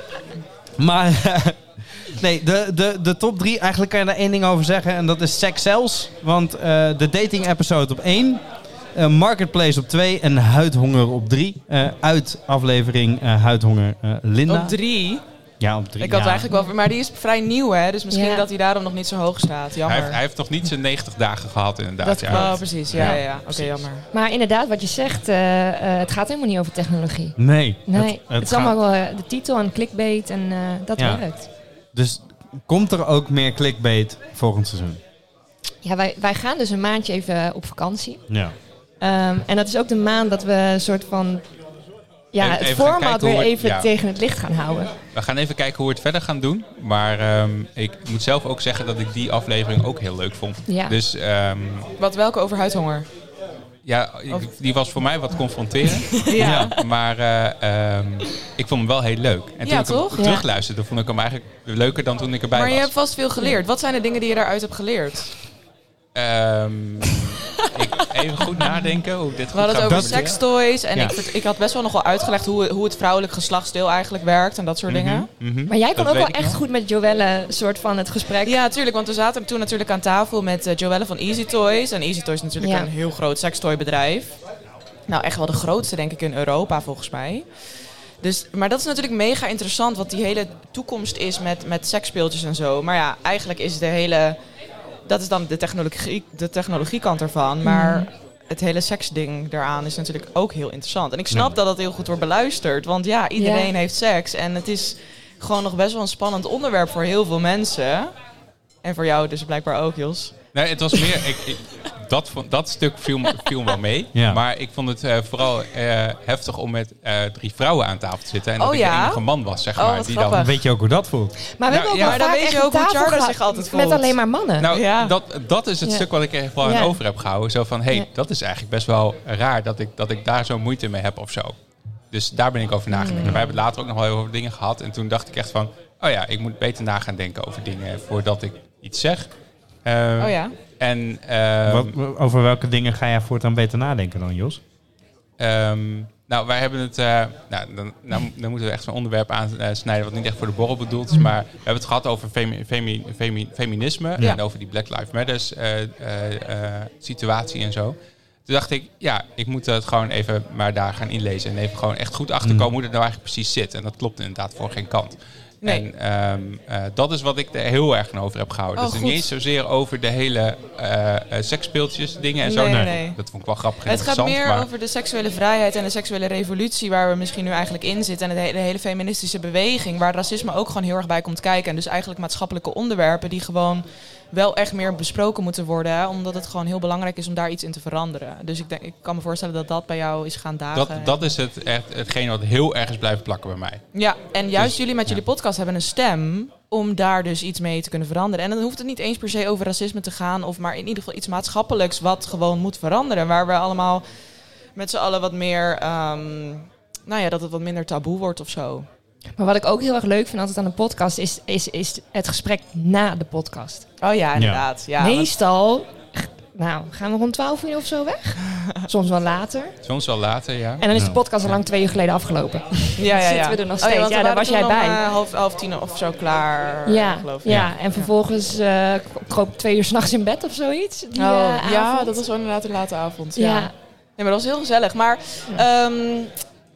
maar eh, nee, de, de, de top drie, eigenlijk kan je daar één ding over zeggen. En dat is seks zelfs. Want eh, de dating episode op één. eh, marketplace op twee en huidhonger op drie. Eh, uit aflevering eh, Huidhonger eh, Linda. Op drie. Ja, op drie Ik had ja. eigenlijk wel, maar die is vrij nieuw, hè? Dus misschien Ja. dat hij daarom nog niet zo hoog staat. Jammer. Hij heeft, hij heeft nog niet zijn 90 dagen gehad, inderdaad. dat, ja. oh, precies. Ja, ja, ja. Oké, jammer. Maar inderdaad, wat je zegt, eh, eh, het gaat helemaal niet over technologie. Nee. Nee, het- het, het is gaat- allemaal wel, eh, de titel en clickbait en eh, dat Ja. werkt. Dus komt er ook meer clickbait volgend seizoen? Ja, wij, wij gaan dus een maandje even op vakantie. Ja. Ehm, en dat is ook de maand dat we een soort van ja, Even- het even gaan format kijken hoe weer we- even ja. tegen het licht gaan houden. We gaan even kijken hoe we het verder gaan doen. Maar ehm, ik moet zelf ook zeggen dat ik die aflevering ook heel leuk vond. Ja. Dus ehm, Wat welke over huidhonger? ja, ik- Of- die was voor mij wat confronterend. Ja. Maar eh, ehm, ik vond hem wel heel leuk. En toen Ja, ik hem toch? terugluisterde, vond ik hem eigenlijk leuker dan toen ik erbij Maar je was. hebt vast veel geleerd. Wat zijn de dingen die je daaruit hebt geleerd? Ehm, ik even goed nadenken hoe ik dit We goed hadden het ga over formuleren. sextoys. En Ja. ik, vert- ik had best wel nog wel uitgelegd hoe, hoe het vrouwelijk geslachtsdeel eigenlijk werkt en dat soort dingen. Mhm. Maar jij kon Dat ook weet wel ik echt nog. goed met Joelle soort van het gesprek. Ja, natuurlijk. Want we zaten toen natuurlijk aan tafel met eh, Joelle van Easy Toys. En Easy Toys is natuurlijk Ja. een heel groot sextoybedrijf. Nou, echt wel de grootste, denk ik, in Europa volgens mij. Dus, maar dat is natuurlijk mega interessant wat die hele toekomst is met, met seksspeeltjes en zo. Maar ja, eigenlijk is de hele. Dat is dan de technologie, de technologiekant ervan. Maar het hele seksding daaraan is natuurlijk ook heel interessant. En ik snap dat dat heel goed wordt beluisterd. Want ja, iedereen Ja. heeft seks. En het is gewoon nog best wel een spannend onderwerp voor heel veel mensen. En voor jou dus blijkbaar ook, Jos. Nee, het was meer. Ik, ik- dat, vond- dat stuk viel, me- viel me wel mee. Ja. Maar ik vond het eh, vooral eh, heftig om met eh, drie vrouwen aan tafel te zitten. En dat Oh, ik ja? de enige man was, zeg Oh, maar. wat die grappig. Dan weet je ook hoe dat voelt. Maar we Nou, hebben ook ja. wel Maar dan vaak weet je echt ook hoe een tafel Charlotte gehad zich altijd Met voelt. alleen maar mannen. Nou, Ja. dat, dat is het Ja. stuk wat ik er vooral Ja. aan over heb gehouden. Zo van, hé, hey, Ja. dat is eigenlijk best wel raar dat ik, dat ik daar zo moeite mee heb of zo. Dus daar ben ik over nagedacht. Mm. En Wij hebben later ook nog wel heel veel dingen gehad. En toen dacht ik echt van, oh ja, ik moet beter na gaan denken over dingen voordat ik iets zeg. Eh, Oh ja. En ehm, Wat- over welke dingen ga jij voortaan beter nadenken dan, Jos? Ehm, nou, wij hebben het. eh, nou, dan, nou, dan moeten we echt zo'n onderwerp aansnijden. wat niet echt voor de borrel bedoeld Mhm. is. Maar we hebben het gehad over femi- femi- femi- feminisme. Ja. en over die Black Lives Matters eh, eh, eh, situatie en zo. Toen dacht ik, ja, ik moet het gewoon even maar daar gaan inlezen. En even gewoon echt goed Mhm. achterkomen hoe dat nou eigenlijk precies zit. En dat klopt inderdaad voor geen kant. Nee. En ehm, eh, dat is wat ik er heel erg aan over heb gehouden. Oh, dus goed. niet eens zozeer over de hele eh eh, seksspeeltjes dingen en zo. Nee, Dat- nee. Dat vond ik wel grappig en Het gaat interessant. meer maar- over de seksuele vrijheid en de seksuele revolutie waar we misschien nu eigenlijk in zitten. En de hele, de hele feministische beweging waar racisme ook gewoon heel erg bij komt kijken. En dus eigenlijk maatschappelijke onderwerpen die gewoon wel echt meer besproken moeten worden. hè, Omdat het gewoon heel belangrijk is om daar iets in te veranderen. Dus ik, denk, ik kan me voorstellen dat dat bij jou is gaan dagen. Dat, dat is het, echt, hetgeen wat heel erg is blijven plakken bij mij. Ja, en juist Dus, jullie met ja. jullie podcast hebben een stem om daar dus iets mee te kunnen veranderen. En dan hoeft het niet eens per se over racisme te gaan, of maar in ieder geval iets maatschappelijks wat gewoon moet veranderen. Waar we allemaal met z'n allen wat meer, ehm, nou ja, dat het wat minder taboe wordt of zo. Maar wat ik ook heel erg leuk vind altijd aan een podcast is, is, is het gesprek na de podcast. Oh ja, inderdaad. Ja, want- Meestal nou, gaan we rond 12 uur of zo weg. Soms wel later. Soms wel later, ja. En dan is de podcast al lang twee uur geleden afgelopen. ja, ja, ja. zitten we er nog Oh steeds. want we Ja, daar waren was jij toen om, bij. eh, half, half tien of zo klaar, eh, Ja, geloof ik. ja. en vervolgens eh, k- kroop ik twee uur s'nachts in bed of zoiets. Die, eh, avond. Oh, was wel inderdaad de late avond. Ja. Nee, maar dat was heel gezellig. Maar ehm,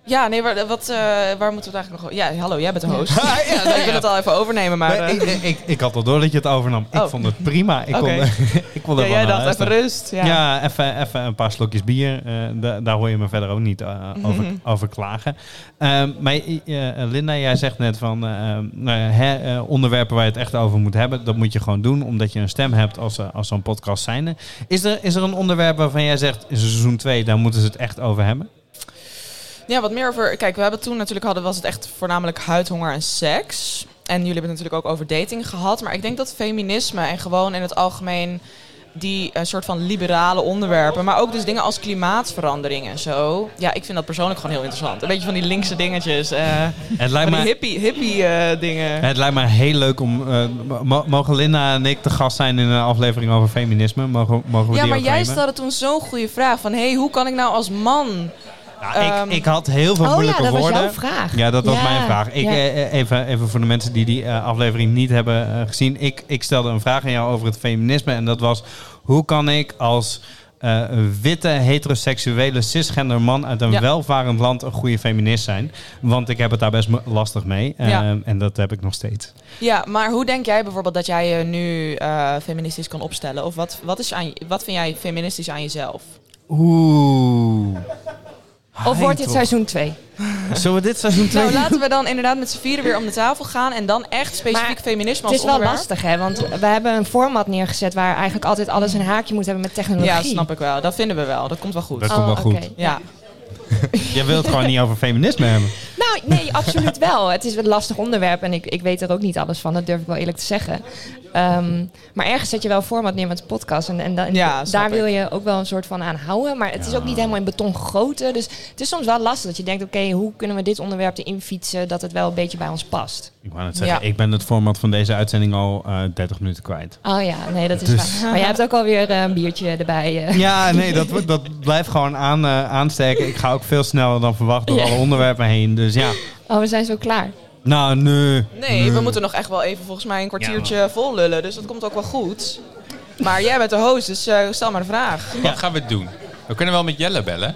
ja, nee, waar, wat, eh, waar moeten we het eigenlijk nog... Ja, hallo, jij bent de host. ja, ik wil het al even overnemen, maar... eh, ik, ik, ik, ik had al door dat je het overnam. Ik Oh. vond het prima. Ik Oké. kon, ik kon er ja, wel jij naar dacht even luisteren. rust. Ja. Ja, even, even een paar slokjes bier. Eh, da- daar hoor je me verder ook niet eh, Mhm. over, over klagen. Ehm, maar eh, eh, Linda, jij zegt net van eh, ehm, nou ja, hè, eh, onderwerpen waar je het echt over moet hebben. Dat moet je gewoon doen, omdat je een stem hebt als, eh, als zo'n podcast zijnde. Is er, is er een onderwerp waarvan jij zegt, in seizoen 2, daar moeten ze het echt over hebben? ja, wat meer over... Kijk, we hebben toen natuurlijk hadden, was het echt voornamelijk huidhonger en seks. En jullie hebben het natuurlijk ook over dating gehad. Maar ik denk dat feminisme en gewoon in het algemeen... die eh, soort van liberale onderwerpen... maar ook dus dingen als klimaatverandering en zo... ja, ik vind dat persoonlijk gewoon heel interessant. Een beetje van die linkse dingetjes... eh, Het lijkt, Van me, die hippie, hippie eh, dingen. het lijkt me heel leuk om... eh, mo- mogen Linda en ik te gast zijn in een aflevering over feminisme? Mogen, mogen we Ja, die maar ook jij nemen? stelde toen zo'n goede vraag van... hey, hoe kan ik nou als man... Ja, Ehm, ik, ik had heel veel Oh ja, moeilijke dat was woorden. jouw vraag. Ja, dat was Ja, mijn vraag. Ik, ja. eh, eh, even, even voor de mensen die die eh, aflevering niet hebben eh, gezien. Ik, ik stelde een vraag aan jou over het feminisme. En dat was, hoe kan ik als eh, witte, heteroseksuele, cisgender man uit een Ja. welvarend land een goede feminist zijn. Want ik heb het daar best m- lastig mee. Eh, Ja. En dat heb ik nog steeds. Ja, maar hoe denk jij bijvoorbeeld dat jij je nu eh, feministisch kan opstellen? Of wat, wat, is aan, je- wat vind jij feministisch aan jezelf? Oeh. Of wordt dit toch. seizoen 2? Zullen we dit seizoen twee Nou, laten we dan inderdaad met z'n vieren weer om de tafel gaan en dan echt specifiek Maar feminisme Het als is wel onderwerp. lastig, hè? Want we hebben een format neergezet waar eigenlijk altijd alles een haakje moet hebben met technologie. Ja, snap ik wel. Dat vinden we wel. Dat komt wel goed. Dat komt wel Oh, goed. oké. Ja. Jij wilt het gewoon niet over feminisme hebben. Nou, nee, absoluut wel. Het is een lastig onderwerp en ik, ik weet er ook niet alles van. Dat durf ik wel eerlijk te zeggen. Ehm, maar ergens zet je wel een format neer met de podcast. En, en dan- Ja, snap daar wil ik. je ook wel een soort van aan houden. Maar het is ook niet helemaal in beton gegoten. Dus het is soms wel lastig dat je denkt... oké, hoe kunnen we dit onderwerp erin fietsen... dat het wel een beetje bij ons past. Ik wou net zeggen, Ja. ik ben het format van deze uitzending al eh 30 minuten kwijt. Oh ja, nee, dat is Dus- waar. Maar jij hebt ook alweer eh, een biertje erbij. eh. Ja, nee, dat, wordt- dat blijft gewoon aan, eh, aansteken. Ik ga ook veel sneller dan verwacht door Ja. alle onderwerpen heen. Dus ja, Oh, we zijn zo klaar. nou, nee. Nee, Hmm. we moeten nog echt wel even volgens mij een kwartiertje vol lullen. Dus dat komt ook wel goed. Maar jij bent de host, dus eh, stel maar de vraag. Wat gaan we doen? We kunnen wel met Jelle bellen.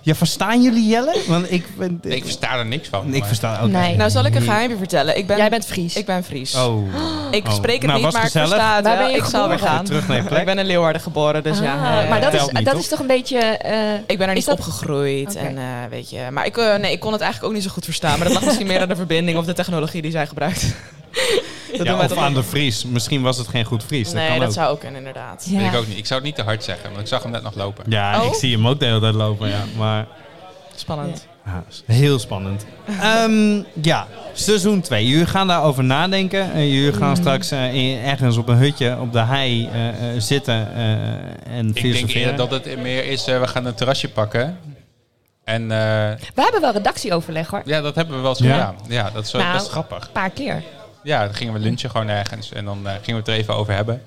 Ja, verstaan jullie Jelle? Want ik, ben, Nee, ik versta er niks van. ik maar- versta ook Nee. Nou, zal ik een geheimje vertellen? Ik ben, Jij bent Fries. Ik ben Fries. Oh. Ik Oh. spreek het Nou, niet, was maar gezellig. ik versta het Waar wel. ben je ik zal geboren? weer gaan. Weer terug naar je plek. Ik ben in Leeuwarden geboren, dus ja. Ah, eh, maar dat, is, Telt niet, dat toch? is toch een beetje... eh, Ik ben er niet Is dat- opgegroeid Oké. en eh, weet je. Maar ik, eh, nee, ik kon het eigenlijk ook niet zo goed verstaan. Maar dat lag misschien meer aan de verbinding of de technologie die zij gebruikt. dat doen Ja, wij of toch aan ook. de Vries. Misschien was het geen goed Fries. Dat Nee, kan dat ook. zou ook kunnen, inderdaad. ja. Weet ik ook niet. Ik zou het niet te hard zeggen, want ik zag hem net nog lopen. Ja, Oh. ik zie hem ook de hele tijd lopen, ja. Maar Spannend. ja, is heel spannend. Ehm, ja, seizoen 2. Jullie gaan daarover nadenken. Eh, jullie gaan straks eh, in- ergens op een hutje op de hei eh, eh, zitten eh, en Ik denk filosoferen. eerder dat het meer is, eh, we gaan een terrasje pakken. En eh, We hebben wel redactieoverleg, hoor. ja, dat hebben we wel eens Ja? gedaan. Ja, dat is wel Nou. best grappig. Een paar keer. Ja, dan gingen we lunchen gewoon ergens en dan eh, gingen we het er even over hebben.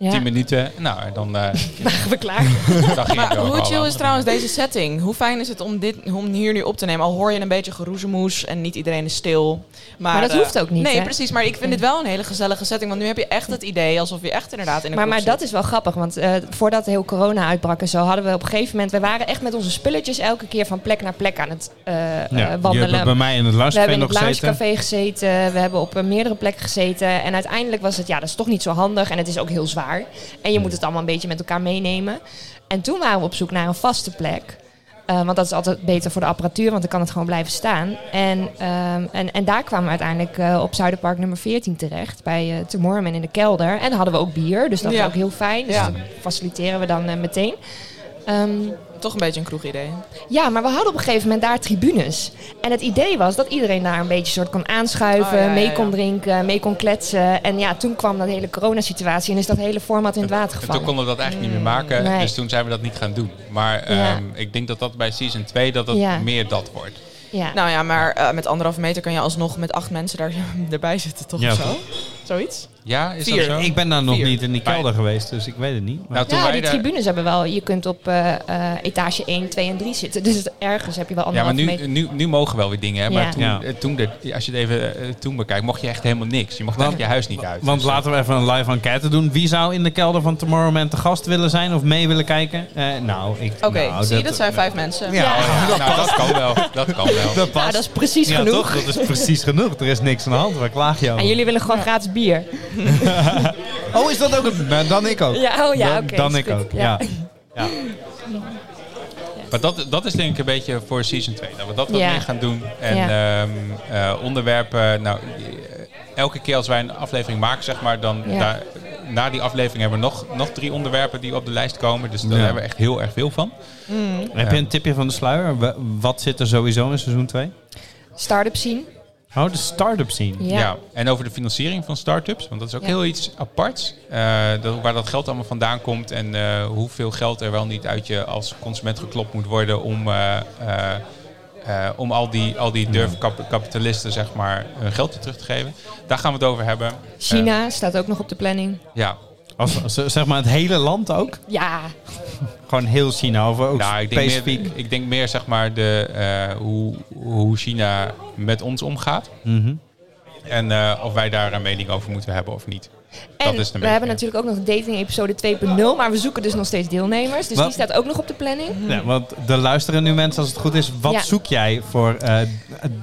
Ja. Tien minuten. Nou, en dan, eh Waren we klaar? dan ging het Maar over hoe alle chill is andere trouwens deze setting? Hoe fijn is het om, dit, om hier nu op te nemen? Al hoor je een beetje geroezemoes en niet iedereen is stil. Maar, Maar dat eh, hoeft ook niet, Nee, hè? precies. Maar ik vind dit wel een hele gezellige setting. Want nu heb je echt het idee alsof je echt inderdaad in een Maar, maar kroeg dat zit. is wel grappig, want eh, voordat heel corona uitbrak en zo hadden we op een gegeven moment... We waren echt met onze spulletjes elke keer van plek naar plek aan het eh, eh, Ja, jullie wandelen. hebben bij mij in We het hebben luistercafé in het nog gezeten. loungecafé gezeten. We hebben op eh, meerdere plekken gezeten. En uiteindelijk was het, ja, dat is toch niet zo handig. En het is ook heel zwaar. En je moet het allemaal een beetje met elkaar meenemen. En toen waren we op zoek naar een vaste plek. Eh, want dat is altijd beter voor de apparatuur, want dan kan het gewoon blijven staan. En, ehm, en, en daar kwamen we uiteindelijk eh, op Zuiderpark nummer 14 terecht. Bij eh Tomorrowman in de kelder. En daar hadden we ook bier, dus dat Ja. was ook heel fijn. Dus Ja. dat faciliteren we dan eh, meteen. Ehm, Toch een beetje een kroegidee. ja, maar we hadden op een gegeven moment daar tribunes. En het idee was dat iedereen daar een beetje soort kon aanschuiven, Oh, ja, ja, mee ja. kon drinken, mee kon kletsen. En ja, toen kwam dat hele coronasituatie en is dat hele format in het water En toen gevallen. konden we dat eigenlijk niet meer maken, Nee. dus toen zijn we dat niet gaan doen. Maar Ja. ehm, ik denk dat dat bij season 2 dat dat Ja. meer dat wordt. Ja. Nou ja, maar eh, met anderhalve meter kan je alsnog met acht mensen daar, erbij zitten, toch? Ja, of zo? toch? Zoiets? Ja, is Vier. dat zo? Ik ben daar nog Vier. niet in die kelder geweest, dus ik weet het niet. Maar Nou, toen ja, wij die daar- tribunes hebben wel. Je kunt op eh, eh, etage 1, 2 en 3 zitten. Dus ergens heb je wel Ja, maar anderhalve meter. nu, nu, nu mogen wel weer dingen. hè. Maar Ja. toen, Ja. eh, toen de- als je het even eh, toen bekijkt, mocht je echt helemaal niks. Je mocht eigenlijk je huis niet uit. Want Dus, eh, laten we even een live enquête doen. Wie zou in de kelder van Tomorrowland te gast willen zijn of mee willen kijken? Eh, nou, ik... Oké, nou, zie je, dat zijn vijf mensen. Ja, oh ja, nou, dat kan wel. Dat kan wel. dat Ja, past. dat is precies Ja, genoeg. toch? Dat is precies genoeg. Er is niks aan de hand. Waar klaag je over? En jullie willen gewoon gratis bier. Oh, is dat ook een... Nou, dan ik ook. Ja, oh ja, Dan- oké. dan is ik goed. ook, ja. Maar dat, dat is denk ik een beetje voor season 2. Dat we dat wat Ja. meer gaan doen. En ehm, eh, onderwerpen. Nou, eh, elke keer als wij een aflevering maken, zeg maar, dan Ja. daar- na die aflevering hebben we nog, nog drie onderwerpen die op de lijst komen. Dus daar Ja. hebben we echt heel erg veel van. Heb je een tipje van de sluier? Wa- Wat zit er sowieso in seizoen 2? Start-up zien. Oh, de start-up scene. Ja. Ja. en over de financiering van start-ups. Want dat is ook Ja. heel iets aparts. eh, dat, waar dat geld allemaal vandaan komt. En eh, hoeveel geld er wel niet uit je als consument geklopt moet worden om, eh, eh, eh, om al die, al die durfkapitalisten zeg maar, hun geld weer terug te geven. Daar gaan we het over hebben. China staat ook nog op de planning. Eh, ja. Als, als- zeg maar het hele land ook? Ja, Gewoon heel China of ook Nou, ik denk, specifiek? meer, ik denk meer zeg maar de, eh, hoe, hoe China met ons omgaat. Mhm. En eh, of wij daar een mening over moeten hebben of niet. dat En is we de hebben beetje. natuurlijk ook nog dating episode 2.0, maar we zoeken dus nog steeds deelnemers. Dus Wat? die staat ook nog op de planning. Ja, want er luisteren nu mensen, als het goed is, wat Ja. zoek jij voor eh,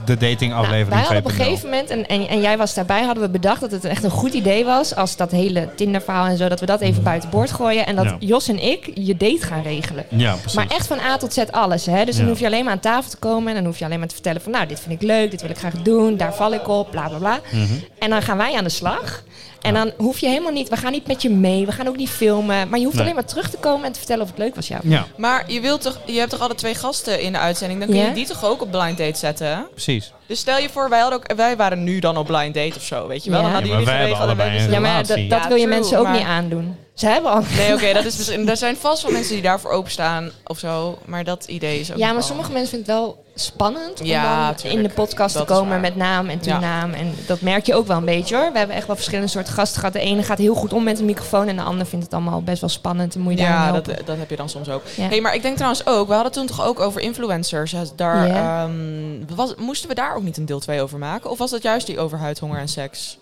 de dating Nou, wij aflevering hadden op 2.0? een gegeven moment, en, en, en jij was daarbij, hadden we bedacht dat het echt een goed idee was. Als dat hele Tinder-verhaal en zo, dat we dat even buiten boord gooien. En dat Ja. Jos en ik je date gaan regelen. Ja, precies. Maar echt van A tot Z alles. Hè? Dus dan Ja. hoef je alleen maar aan tafel te komen. En dan hoef je alleen maar te vertellen van... nou, dit vind ik leuk, dit wil ik graag doen, daar val ik op, bla bla bla. Mhm. En dan gaan wij aan de slag. En dan hoef je helemaal niet... we gaan niet met je mee, we gaan ook niet filmen. Maar je hoeft Nee. alleen maar terug te komen en te vertellen of het leuk was, ja. Ja, Maar je, wilt toch, je hebt toch alle twee gasten in de uitzending? Dan kun Ja. je die toch ook op blind date zetten? precies. Dus stel je voor, wij, hadden ook, wij waren nu dan op blind date of zo, weet je wel? Ja. Dan hadden Ja, jullie maar wij hebben geregeld en wij allebei Ja, wisten- een- maar Relatie. dat dat Ja, wil je true, mensen ook maar- niet aandoen. Ze hebben al... Nee, oké, dat is misschien. Er zijn vast wel mensen die daarvoor openstaan of zo. Maar dat idee is Ja, ook. nog maar wel- sommige mensen vinden het wel spannend om Ja, dan tuurlijk. in de podcast Dat te is komen waar. met naam en Ja. toenaam. En dat merk je ook wel een beetje hoor. We hebben echt wel verschillende soorten gasten gehad. De ene gaat heel goed om met een microfoon en de ander vindt het allemaal best wel spannend en moet je daarin Ja, dat, helpen. dat heb je dan soms ook. Ja. Hey, maar ik denk trouwens ook, we hadden toen toch ook over influencers. hè, Daar, Ja. ehm, was, moesten we daar ook niet een deel 2 over maken? Of was dat juist die over huidhonger en seks?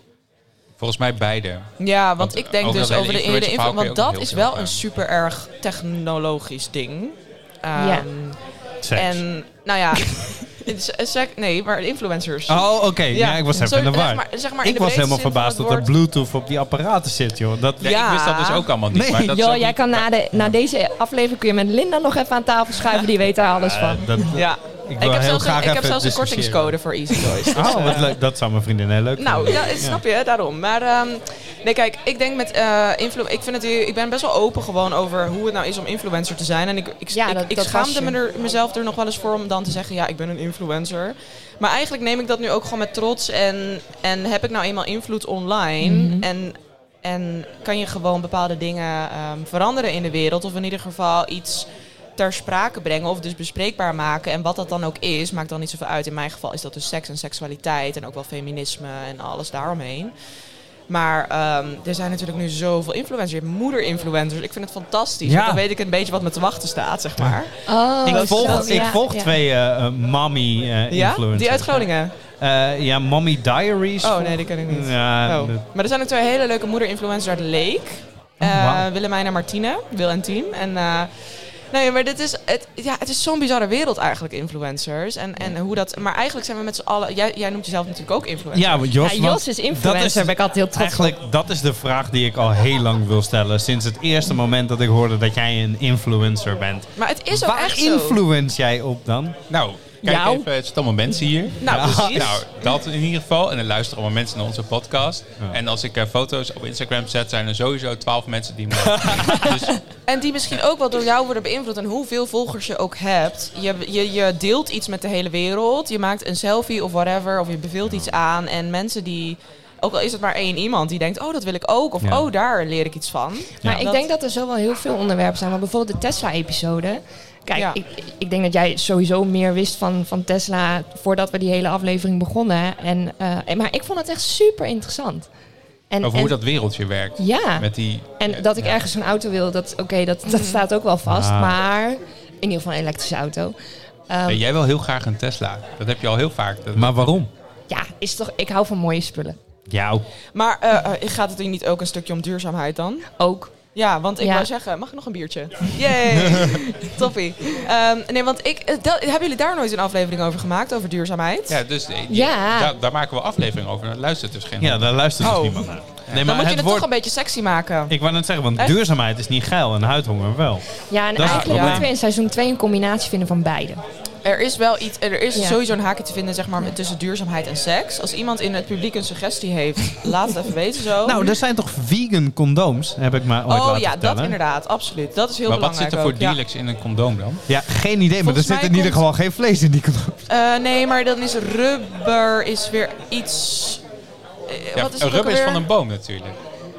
Volgens mij beide. Ja, want, Want ik denk over dus dat hele over de, de, influencer verhaal influ- kun je Want ook dat heel is veel wel over. een super erg technologisch ding. Ehm, Ja. Seks. En, nou ja. het is- eh, seks- nee, maar influencers. Oh, oké. Ja. ik was even Sorry, in de zeg war. maar- zeg maar in Ik de was breedste zin van helemaal verbaasd het dat er woord. Bluetooth op die apparaten zit, joh. Dat, Ja, Ja. Ik wist dat dus ook allemaal niet. Nee. Maar dat is Jo, ook jij niet- kan na, de, na deze aflevering kun je met Linda nog even aan tafel schuiven. Die weet daar alles van. eh, dat- Ja. Ik Ik, wil heb heel zelfs, graag een, ik heb even zelfs een discussiëren. kortingscode voor Easy Toys. Dus, Oh, wat eh, leuk. Dat zou mijn vriendin heel leuk Nou, vinden. ja, dat snap je, daarom. Maar ehm, nee, kijk, ik denk met eh influ- ik, vind het, heel- ik ben best wel open gewoon over hoe het nou is om influencer te zijn. En ik, ik, Ja, ik, dat- ik dat was je. schaamde me er, mezelf er nog wel eens voor om dan te zeggen, ja, ik ben een influencer. Maar eigenlijk neem ik dat nu ook gewoon met trots. En, en heb ik nou eenmaal invloed online? Mhm. En, en kan je gewoon bepaalde dingen ehm, veranderen in de wereld? Of in ieder geval iets ter sprake brengen of dus bespreekbaar maken. En wat dat dan ook is, maakt dan niet zoveel uit. In mijn geval is dat dus seks en seksualiteit en ook wel feminisme en alles daaromheen. Maar ehm, er zijn natuurlijk nu zoveel influencers. Je hebt moeder-influencers. Ik vind het fantastisch. Ja. want Dan weet ik een beetje wat me te wachten staat, zeg maar. Oh, ik volg, zo, ik ja, volg ja. twee eh Ja? mommy-influencers. Die uit Groningen? ja, Mommy Diaries. Oh, nee, die ken ik niet. Ja, Oh. dat- Maar er zijn ook twee hele leuke moeder-influencers uit Leek. Oh, Eh wauw. Willemijn en Martine, Wil en Team. En, eh, nee, maar dit is, het, ja, het is zo'n bizarre wereld eigenlijk, influencers. En, en hoe dat, maar eigenlijk zijn we met z'n allen... Jij, jij noemt jezelf natuurlijk ook influencer. Ja, want Jos, Ja, want Jos is influencer, daar ben ik altijd heel trots op. Eigenlijk, dat is de vraag die ik al heel lang wil stellen. Sinds het eerste moment dat ik hoorde dat jij een influencer bent. Maar het is ook Waar echt zo. influence jij op dan? Nou, kijk Jou? even, het zitten allemaal mensen hier. Nou, Ja. precies. Nou, dat in ieder geval. En er luisteren allemaal mensen naar onze podcast. En als ik eh, foto's op Instagram zet, zijn er sowieso twaalf mensen die me... dus En die misschien ook wel door jou worden beïnvloed. En hoeveel volgers je ook hebt. Je, je, je deelt iets met de hele wereld. Je maakt een selfie of whatever. Of je beveelt iets aan. En mensen die... Ook al is het maar één iemand die denkt, oh, dat wil ik ook. Of, Ja. oh, daar leer ik iets van. Maar ik denk dat er zo wel heel veel onderwerpen zijn. Want bijvoorbeeld de Tesla-episode. Kijk, Ja. ik, ik denk dat jij sowieso meer wist van, van Tesla voordat we die hele aflevering begonnen. En, eh, maar ik vond het echt super interessant. En, over en- hoe dat wereldje werkt. Ja, Met die... en dat ik ergens een auto wil, dat, oké, dat, dat staat ook wel vast. Ah. Maar in ieder geval een elektrische auto. Ehm, Nee, jij wil heel graag een Tesla. Dat heb je al heel vaak. Dat- Maar waarom? ja, is toch, ik hou van mooie spullen. Jou. Maar eh, eh, gaat het hier niet ook een stukje om duurzaamheid dan? Ook. Ja, want ik Ja. wou zeggen, mag ik nog een biertje? Yay! Toppie. Ehm, nee, want ik, eh, dat- hebben jullie daar nooit een aflevering over gemaakt, over duurzaamheid? Ja, dus eh, Ja. Daar, daar maken we aflevering over. Dat luistert dus geen Ja, daar luistert dus Oh. niemand naar. Nee, dan maar moet je het het woord... toch een beetje sexy maken. Ik wou net zeggen, want Echt? duurzaamheid is niet geil en huidhonger wel. Ja, en Dat is het eigenlijk probleem. moeten we in seizoen 2 een combinatie vinden van beide. Er is wel iets, er is Ja. sowieso een haakje te vinden zeg maar, met- tussen duurzaamheid en seks. Als iemand in het publiek een suggestie heeft, laat het even weten zo. Nou, er zijn toch vegan condooms, heb ik maar ooit oh laten ja, vertellen. dat inderdaad, absoluut. Dat is heel maar wat belangrijk zit er voor ook, ja. Delex in een condoom dan? Ja, geen idee, maar er Volgens zit mij in ieder komt- geval geen vlees in die condooms. Eh, nee, maar dan is rubber is weer iets... eh, wat is Ja, een het ook rubber is alweer? van een boom natuurlijk.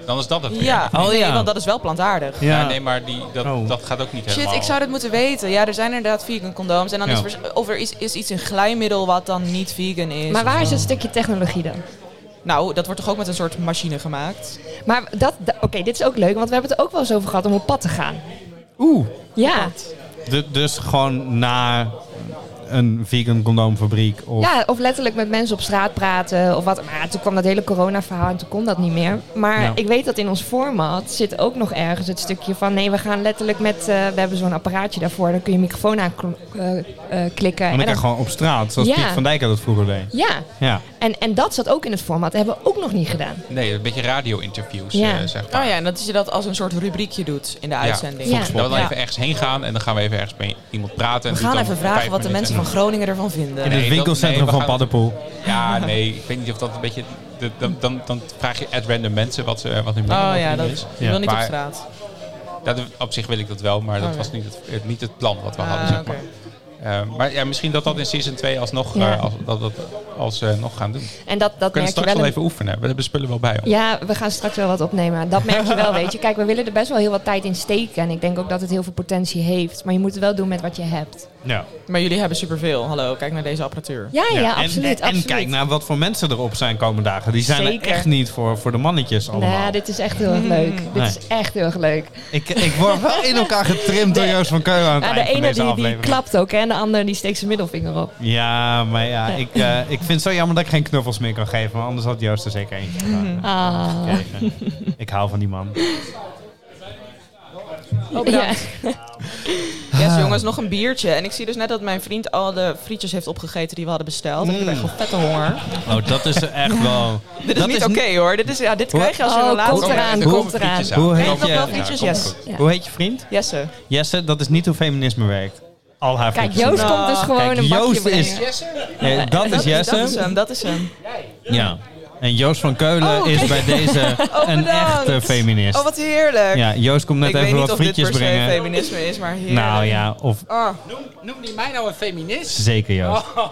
Dan is dat het weer. Ja, Oh, nee, ja. want dat is wel plantaardig. Ja, nee, maar die, dat, Oh. dat gaat ook niet Shit, helemaal. ik zou dit moeten weten. Ja, er zijn inderdaad vegan condooms. En dan Ja. is, vers- of er is, is iets een glijmiddel wat dan niet vegan is. Maar waar is het stukje technologie dan? Nou, dat wordt toch ook met een soort machine gemaakt? Maar dat, da- oké, dit is ook leuk, want we hebben het er ook wel eens over gehad om op pad te gaan. Oeh. Ja, Du- dus gewoon naar een vegan condoomfabriek. Of, Ja, of letterlijk met mensen op straat praten of wat. Maar toen kwam dat hele corona-verhaal en toen kon dat niet meer. Maar Ja. ik weet dat in ons format zit ook nog ergens het stukje van... nee, we gaan letterlijk met... eh, we hebben zo'n apparaatje daarvoor, dan kun je microfoon aan kl- eh, eh, klikken. dan en kan je dan- gewoon op straat, zoals Ja. Piet van Dijk dat vroeger deed. Ja, Ja. en, en dat zat ook in het format. Dat hebben we ook nog niet gedaan. Nee, een beetje radio-interviews, Ja. eh, zeg maar. Oh ja, en dat je dat als een soort rubriekje doet in de uitzending. Ja. Ja. Dan wel even ergens heen gaan en dan gaan we even ergens met iemand praten. We en doet gaan dan even vragen vijf wat de mensen minuten. van Groningen ervan vinden. In het Nee, dat- winkelcentrum nee, we van gaan- Paddepoel. Ja, nee, ik weet niet of dat een beetje... de- Dan, dan, dan vraag je at random mensen wat, ze, wat hun mening Oh over ja, dingen dat is. je wil niet op Maar- straat. Ja, d- op zich wil ik dat wel, maar dat Oh, ja. was niet het, het- niet het plan wat we hadden, Ah, zeg oké. maar. Eh, maar ja, misschien dat dat in season 2 alsnog Ja. eh, als, dat, dat, als, eh, nog gaan doen. We En dat, dat kunnen merk je straks wel... wel een- even oefenen. We hebben spullen wel bij ons. Ja, we gaan straks wel wat opnemen. Dat merk je wel, weet je. Kijk, we willen er best wel heel wat tijd in steken. En ik denk ook dat het heel veel potentie heeft. Maar je moet het wel doen met wat je hebt. Ja. Maar jullie hebben superveel. Hallo, kijk naar deze apparatuur. Ja, ja, en, absoluut. En, en absoluut. kijk naar wat voor mensen erop zijn komende dagen. Die zijn Zeker. er echt niet voor, voor de mannetjes allemaal. Nou, dit is echt heel erg leuk. Dit Nee. is echt heel erg leuk. ik, ik word wel in elkaar getrimd door De- Joost van Keulen aan het Ja, eind Nou, de van ene deze die, die aflevering. klapt ook hè, en de ander die steekt zijn middelvinger op. Ja, maar ja, ik, eh, ik vind het zo jammer dat ik geen knuffels meer kan geven. Maar anders had Joost er zeker eentje gedaan. Ah. Gekregen. Ik hou van die man. Oh, bedankt. Yes, jongens, nog een biertje. En ik zie dus net dat mijn vriend al de frietjes heeft opgegeten die we hadden besteld. En ik heb echt wel vette honger. Oh, dat is echt wel... Dit is niet oké hoor. Dit, is, ja, dit krijg je als je Oh, een relatie komt eraan, hebt. Hoe- komt eraan. frietjes aan. Hoe heet Nee, nog je- wel frietjes, Ja, yes. Ja. Hoe heet je vriend? Jesse. Jesse, dat is niet hoe feminisme werkt. Al haar Kijk, vriendjes Joost doen. komt dus Kijk, gewoon een bakje Joost is... brengen. Nee, dat is Dat is Jesse. hem, dat is hem. Ja. En Joost van Keulen Oh, is kijk. bij deze Oh, een bedankt. echte feminist. Oh, wat heerlijk. Ja, Joost komt net ik weet even niet wat of dit frietjes per se brengen. feminisme is, maar heerlijk. Nou ja, of Oh, Noem niet mij nou een feminist. zeker Joost. Oh,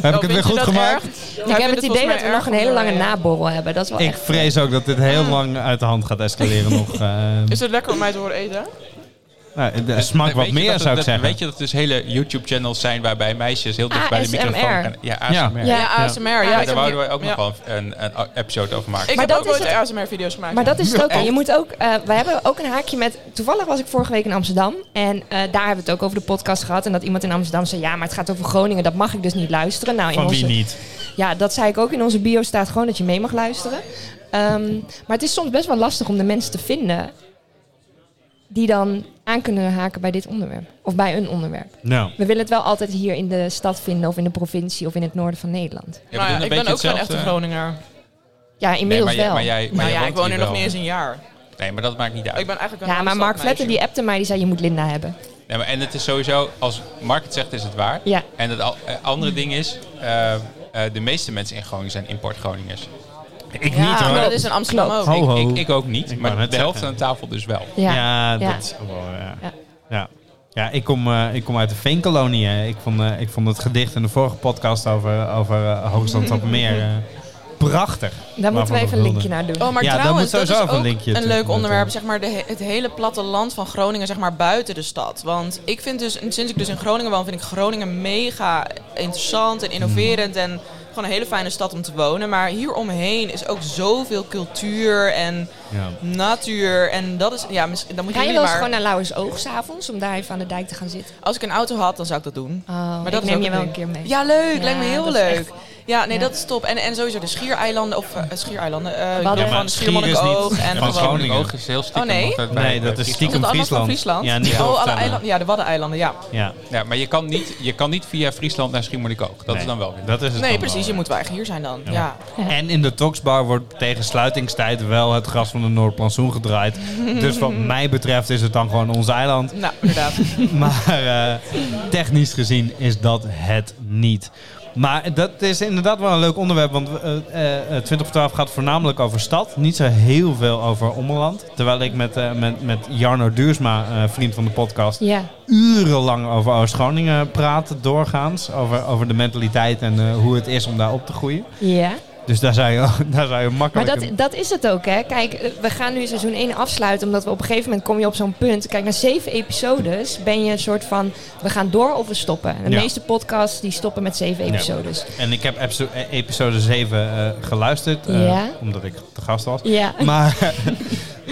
Heb ik het weer goed gemaakt? Nou, Ik heb het idee dat we nog een hele lange naborrel hebben. Dat is wel Ik echt. vrees ook dat dit heel lang uit de hand gaat escaleren nog. eh. Is het lekker om mij te horen eten? nou, de smaak Weet wat je meer, dat het- zou ik dat- zeggen. Weet je dat er dus hele YouTube-channels zijn waarbij meisjes heel dicht bij de ASMR. microfoon gaan? Ja, ASMR. Ja. Ja, ASMR. Ja, Ja, ik daar heb wouden die- we ook ja. nog wel een, een episode over maken. Ik Maar heb dat ook is nooit het- ASMR-video's gemaakt. Maar dat is het ook. En je moet ook. eh, we hebben ook een haakje met. Toevallig was ik vorige week in Amsterdam. En eh, daar hebben we het ook over de podcast gehad. En dat iemand in Amsterdam zei: Ja, maar het gaat over Groningen. Dat mag ik dus niet luisteren. Nou, in Van onze, wie niet? Ja, dat zei ik ook. In onze bio staat gewoon dat je mee mag luisteren. Ehm, maar het is soms best wel lastig om de mensen te vinden die dan aan kunnen haken bij dit onderwerp. Of bij een onderwerp. Nou, We willen het wel altijd hier in de stad vinden of in de provincie of in het noorden van Nederland. Ja, we Nou doen ja, een ik beetje ben ook zo'n hetzelfde. echte Groninger. Ja, Nee, maar inmiddels jij- wel. maar jij- maar Nou jij ja, ik woont woon hier hier nog wel. niet eens een jaar. Nee, maar dat maakt niet uit. Ik ben eigenlijk een ja, hele maar Mark stadmeisje. Vletter die appte mij, die zei je moet Linda hebben. Nee, maar en het is sowieso, als Mark het zegt, is het waar. Ja. En het al- eh, andere ding is, eh, eh, de meeste mensen in Groningen zijn import-Groningers. ik Ja, niet maar hoor. dat is in Amsterdam Klopt. ook. Ho, ho. Ik, ik, ik ook niet, Ik wou maar net de helft zeggen. aan tafel dus wel. Ja, Ja, Ja. dat is gewoon, ja. Ja. Ja. Ja. ik, kom, eh, ik kom uit de Veenkolonie. hè. Ik vond, eh, ik vond het gedicht in de vorige podcast over, over eh, Hoogstand op het Meer eh, prachtig. daar moeten we Waarvan even een linkje wilden. naar doen. Oh, maar Ja, daar trouwens, moet dat is sowieso ook even een, een linkje eh, tussen leuk moeten. onderwerp, zeg maar, de, he- het hele platteland van Groningen, zeg maar, buiten de stad. Want ik vind dus, en sinds ik dus in Groningen woon, vind ik Groningen mega interessant en innoverend Mm. en gewoon een hele fijne stad om te wonen. Maar hieromheen is ook zoveel cultuur en Ja. natuur en dat is, ja, mis- dan moet je Ga je jullie wel eens maar... gewoon naar Lauwers Oog s'avonds om daar even aan de dijk te gaan zitten? Als ik een auto had, dan zou ik dat doen. maar Maar dat dat Oh, ik neem is ook je een wel ding. een keer mee. Ja, leuk. Ja, lijkt me heel dat is leuk. echt- Ja, nee, ja. dat is top. En, en sowieso de schiereilanden, of eh, schiereilanden, eh, ik Wadden. bedoel Ja, maar gewoon Schier is Schiermonnikoog niet en van gewoon... Groningen. Ook is heel stiekem Oh, nee? nog bij- Nee, bij dat is Is stiekem dat allemaal van Friesland. Friesland? Ja, niet oh, Dus alle overtellen. eilanden. Ja, de Waddeneilanden, ja. Ja. Ja, maar je kan, niet, je kan niet via Friesland naar Schiermonnikoog. Dat Nee, is dan wel weer. Dat is het Nee, dan eh, precies. Je wel. moet wel echt hier zijn dan. Ja. En in de Toxbar wordt tegen sluitingstijd wel het gras van de Noordplantsoen gedraaid. dus wat mij betreft is het dan gewoon ons eiland. Nou, inderdaad. Maar eh, technisch gezien is dat het niet. Maar dat is inderdaad wel een leuk onderwerp. Want eh, eh, eh, 20 voor 12 gaat voornamelijk over stad. Niet zo heel veel over ommeland. Terwijl ik met, eh, met, met Jarno Duursma, eh, vriend van de podcast, Ja, urenlang over Oost-Groningen praat. Doorgaans. Over, over de mentaliteit en eh, hoe het is om daar op te groeien. ja. Dus daar zou je, daar zou je Maar makkelijk... dat, een- dat is het ook, hè. Kijk, eh, we gaan nu seizoen 1 afsluiten, omdat we op een gegeven moment kom je op zo'n punt. Kijk, na zeven episodes ben je een soort van, we gaan door of we stoppen. De Ja. meeste podcasts, die stoppen met zeven Ja. episodes. En ik heb episo- eh, episode 7 eh, geluisterd. eh, Ja. Omdat ik te gast was. Ja. Maar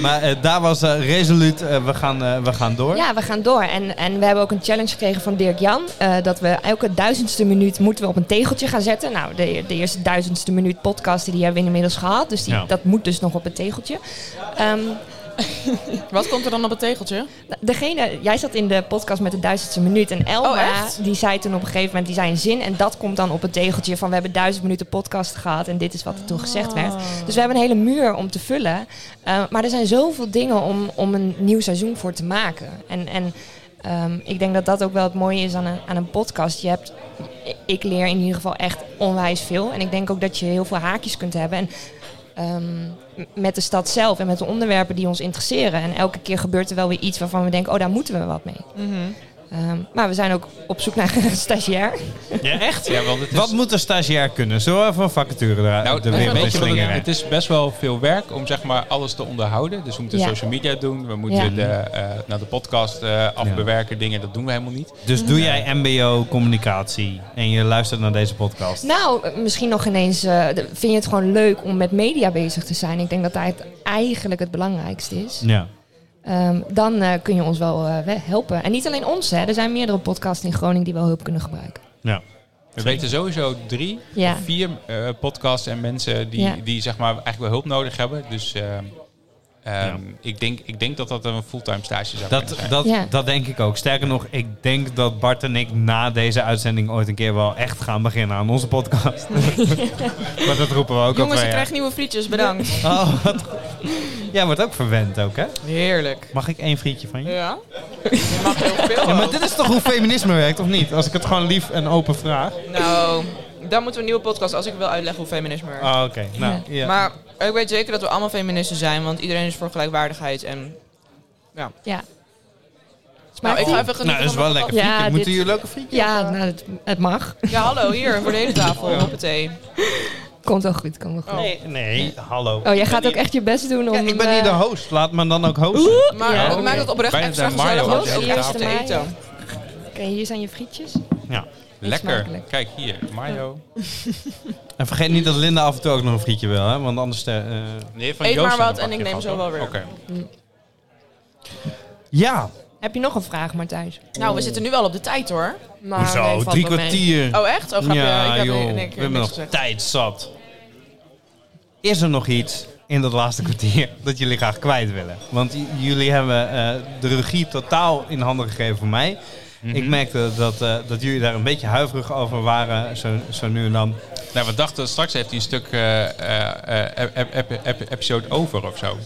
Maar eh, daar was eh, resoluut, eh, we, gaan, eh, we gaan door. Ja, we gaan door. En, en we hebben ook een challenge gekregen van Dirk Jan. eh, dat we elke duizendste minuut moeten we op een tegeltje gaan zetten. Nou, de, de eerste duizendste minuut podcasten die hebben we inmiddels gehad. Dus die, Ja. dat moet dus nog op een tegeltje. Ehm, Wat komt er dan op het tegeltje? degene, jij zat in de podcast met de duizendste minuut. En Oh, Elma, echt? die zei toen op een gegeven moment, die zei een zin. En dat komt dan op het tegeltje van we hebben duizend minuten podcast gehad. En dit is wat er toen gezegd werd. Ah. Dus we hebben een hele muur om te vullen. Eh, maar er zijn zoveel dingen om, om een nieuw seizoen voor te maken. En, en ehm, ik denk dat dat ook wel het mooie is aan een, aan een podcast. Je hebt, ik leer in ieder geval echt onwijs veel. En ik denk ook dat je heel veel haakjes kunt hebben. En, ehm, m- met de stad zelf en met de onderwerpen die ons interesseren. En elke keer gebeurt er wel weer iets waarvan we denken, oh daar moeten we wat mee. Mhm. Ehm, maar we zijn ook op zoek naar een stagiair. Ja, echt? Ja, want het is, Wat moet een stagiair kunnen? Zo even een vacature eruit nou, de weet je wereld wat in het- slingeren. het is best wel veel werk om zeg maar alles te onderhouden. Dus we moeten Ja. social media doen, we moeten Ja. de, eh, nou, de podcast eh, afbewerken, dingen, dat doen we helemaal niet. Mhm. Dus doe jij mbo communicatie en je luistert naar deze podcast. Nou, eh, misschien nog ineens. eh, de- vind je het gewoon leuk om met media bezig te zijn? Ik denk dat dat het eigenlijk het belangrijkste is. Ja. Ehm, dan eh, kun je ons wel eh, we- helpen. En niet alleen ons, hè. er zijn meerdere podcasts in Groningen die wel hulp kunnen gebruiken. ja. We weten sowieso drie, Ja. of vier eh, podcasts en mensen die, Ja. die zeg maar eigenlijk wel hulp nodig hebben. Dus ehm, ehm, Ja. ik, denk, ik denk dat dat een fulltime stage zou kunnen Dat, zijn. dat, Ja. dat denk ik ook. Sterker nog, ik denk dat Bart en ik na deze uitzending ooit een keer wel echt gaan beginnen aan onze podcast. maar dat eh, roepen we Jongens, ook al twee ik jaar. krijg nieuwe frietjes, bedankt. Oh, wat goed. Jij wordt ook verwend ook, hè? Heerlijk. Mag ik één frietje van je? Ja? Je mag heel veel. Ja, maar ook. Eh, dit is toch hoe feminisme werkt, of niet? Als ik het gewoon lief en open vraag. Nou, dan moeten we een nieuwe podcast als ik wil uitleggen hoe feminisme werkt. Oh, oké. Nou, ja. Maar ik weet zeker dat we allemaal feministen zijn, want iedereen is voor gelijkwaardigheid. En... Ja, Nou, ik ga even nou, genieten dat is van mijn wel lekker pap- Ja, frietje. Moeten dit- jullie ook een frietje? ja nou, het, het mag. Ja, hallo, hier, voor de hele tafel. Hoppatee. Komt wel goed, komt wel goed. Nee, nee, hallo. Oh, jij gaat ook echt je best doen om... Ja, ik ben eh, hier de host. Laat me dan ook hosten. Oh. Maar Ja, het oké. maakt het oprecht Bijna extra daar Mario gezellig om was ook de echt eerste te maai. eten. Oké, hier zijn je frietjes. Ja. Lekker. smakelijk. Kijk hier, Mario. En vergeet niet dat Linda af en toe ook nog een frietje wil, hè? Want anders... eh, eh, Nee, van Eet Joost maar dan wat een en ik pakje neem van, zo wel toch? weer. Oké. Oh, Ja. Heb je nog een vraag, Martijn? Nou, we zitten nu al op de tijd hoor. Maar Hoezo? nee, valt Drie wel mee. kwartier. Oh echt? Oh grapje, ja, ik heb joh. nee, ik we heb hebben niks nog gezegd. tijd zat. Is er nog iets in dat laatste kwartier dat jullie graag kwijt willen? Want j- jullie hebben eh, de regie totaal in handen gegeven voor mij. Ik merkte dat, eh, dat jullie daar een beetje huiverig over waren, zo, zo nu en dan. Nou, we dachten straks heeft hij een stuk eh, eh, eh, ep- ep- ep- ep- episode over of zo.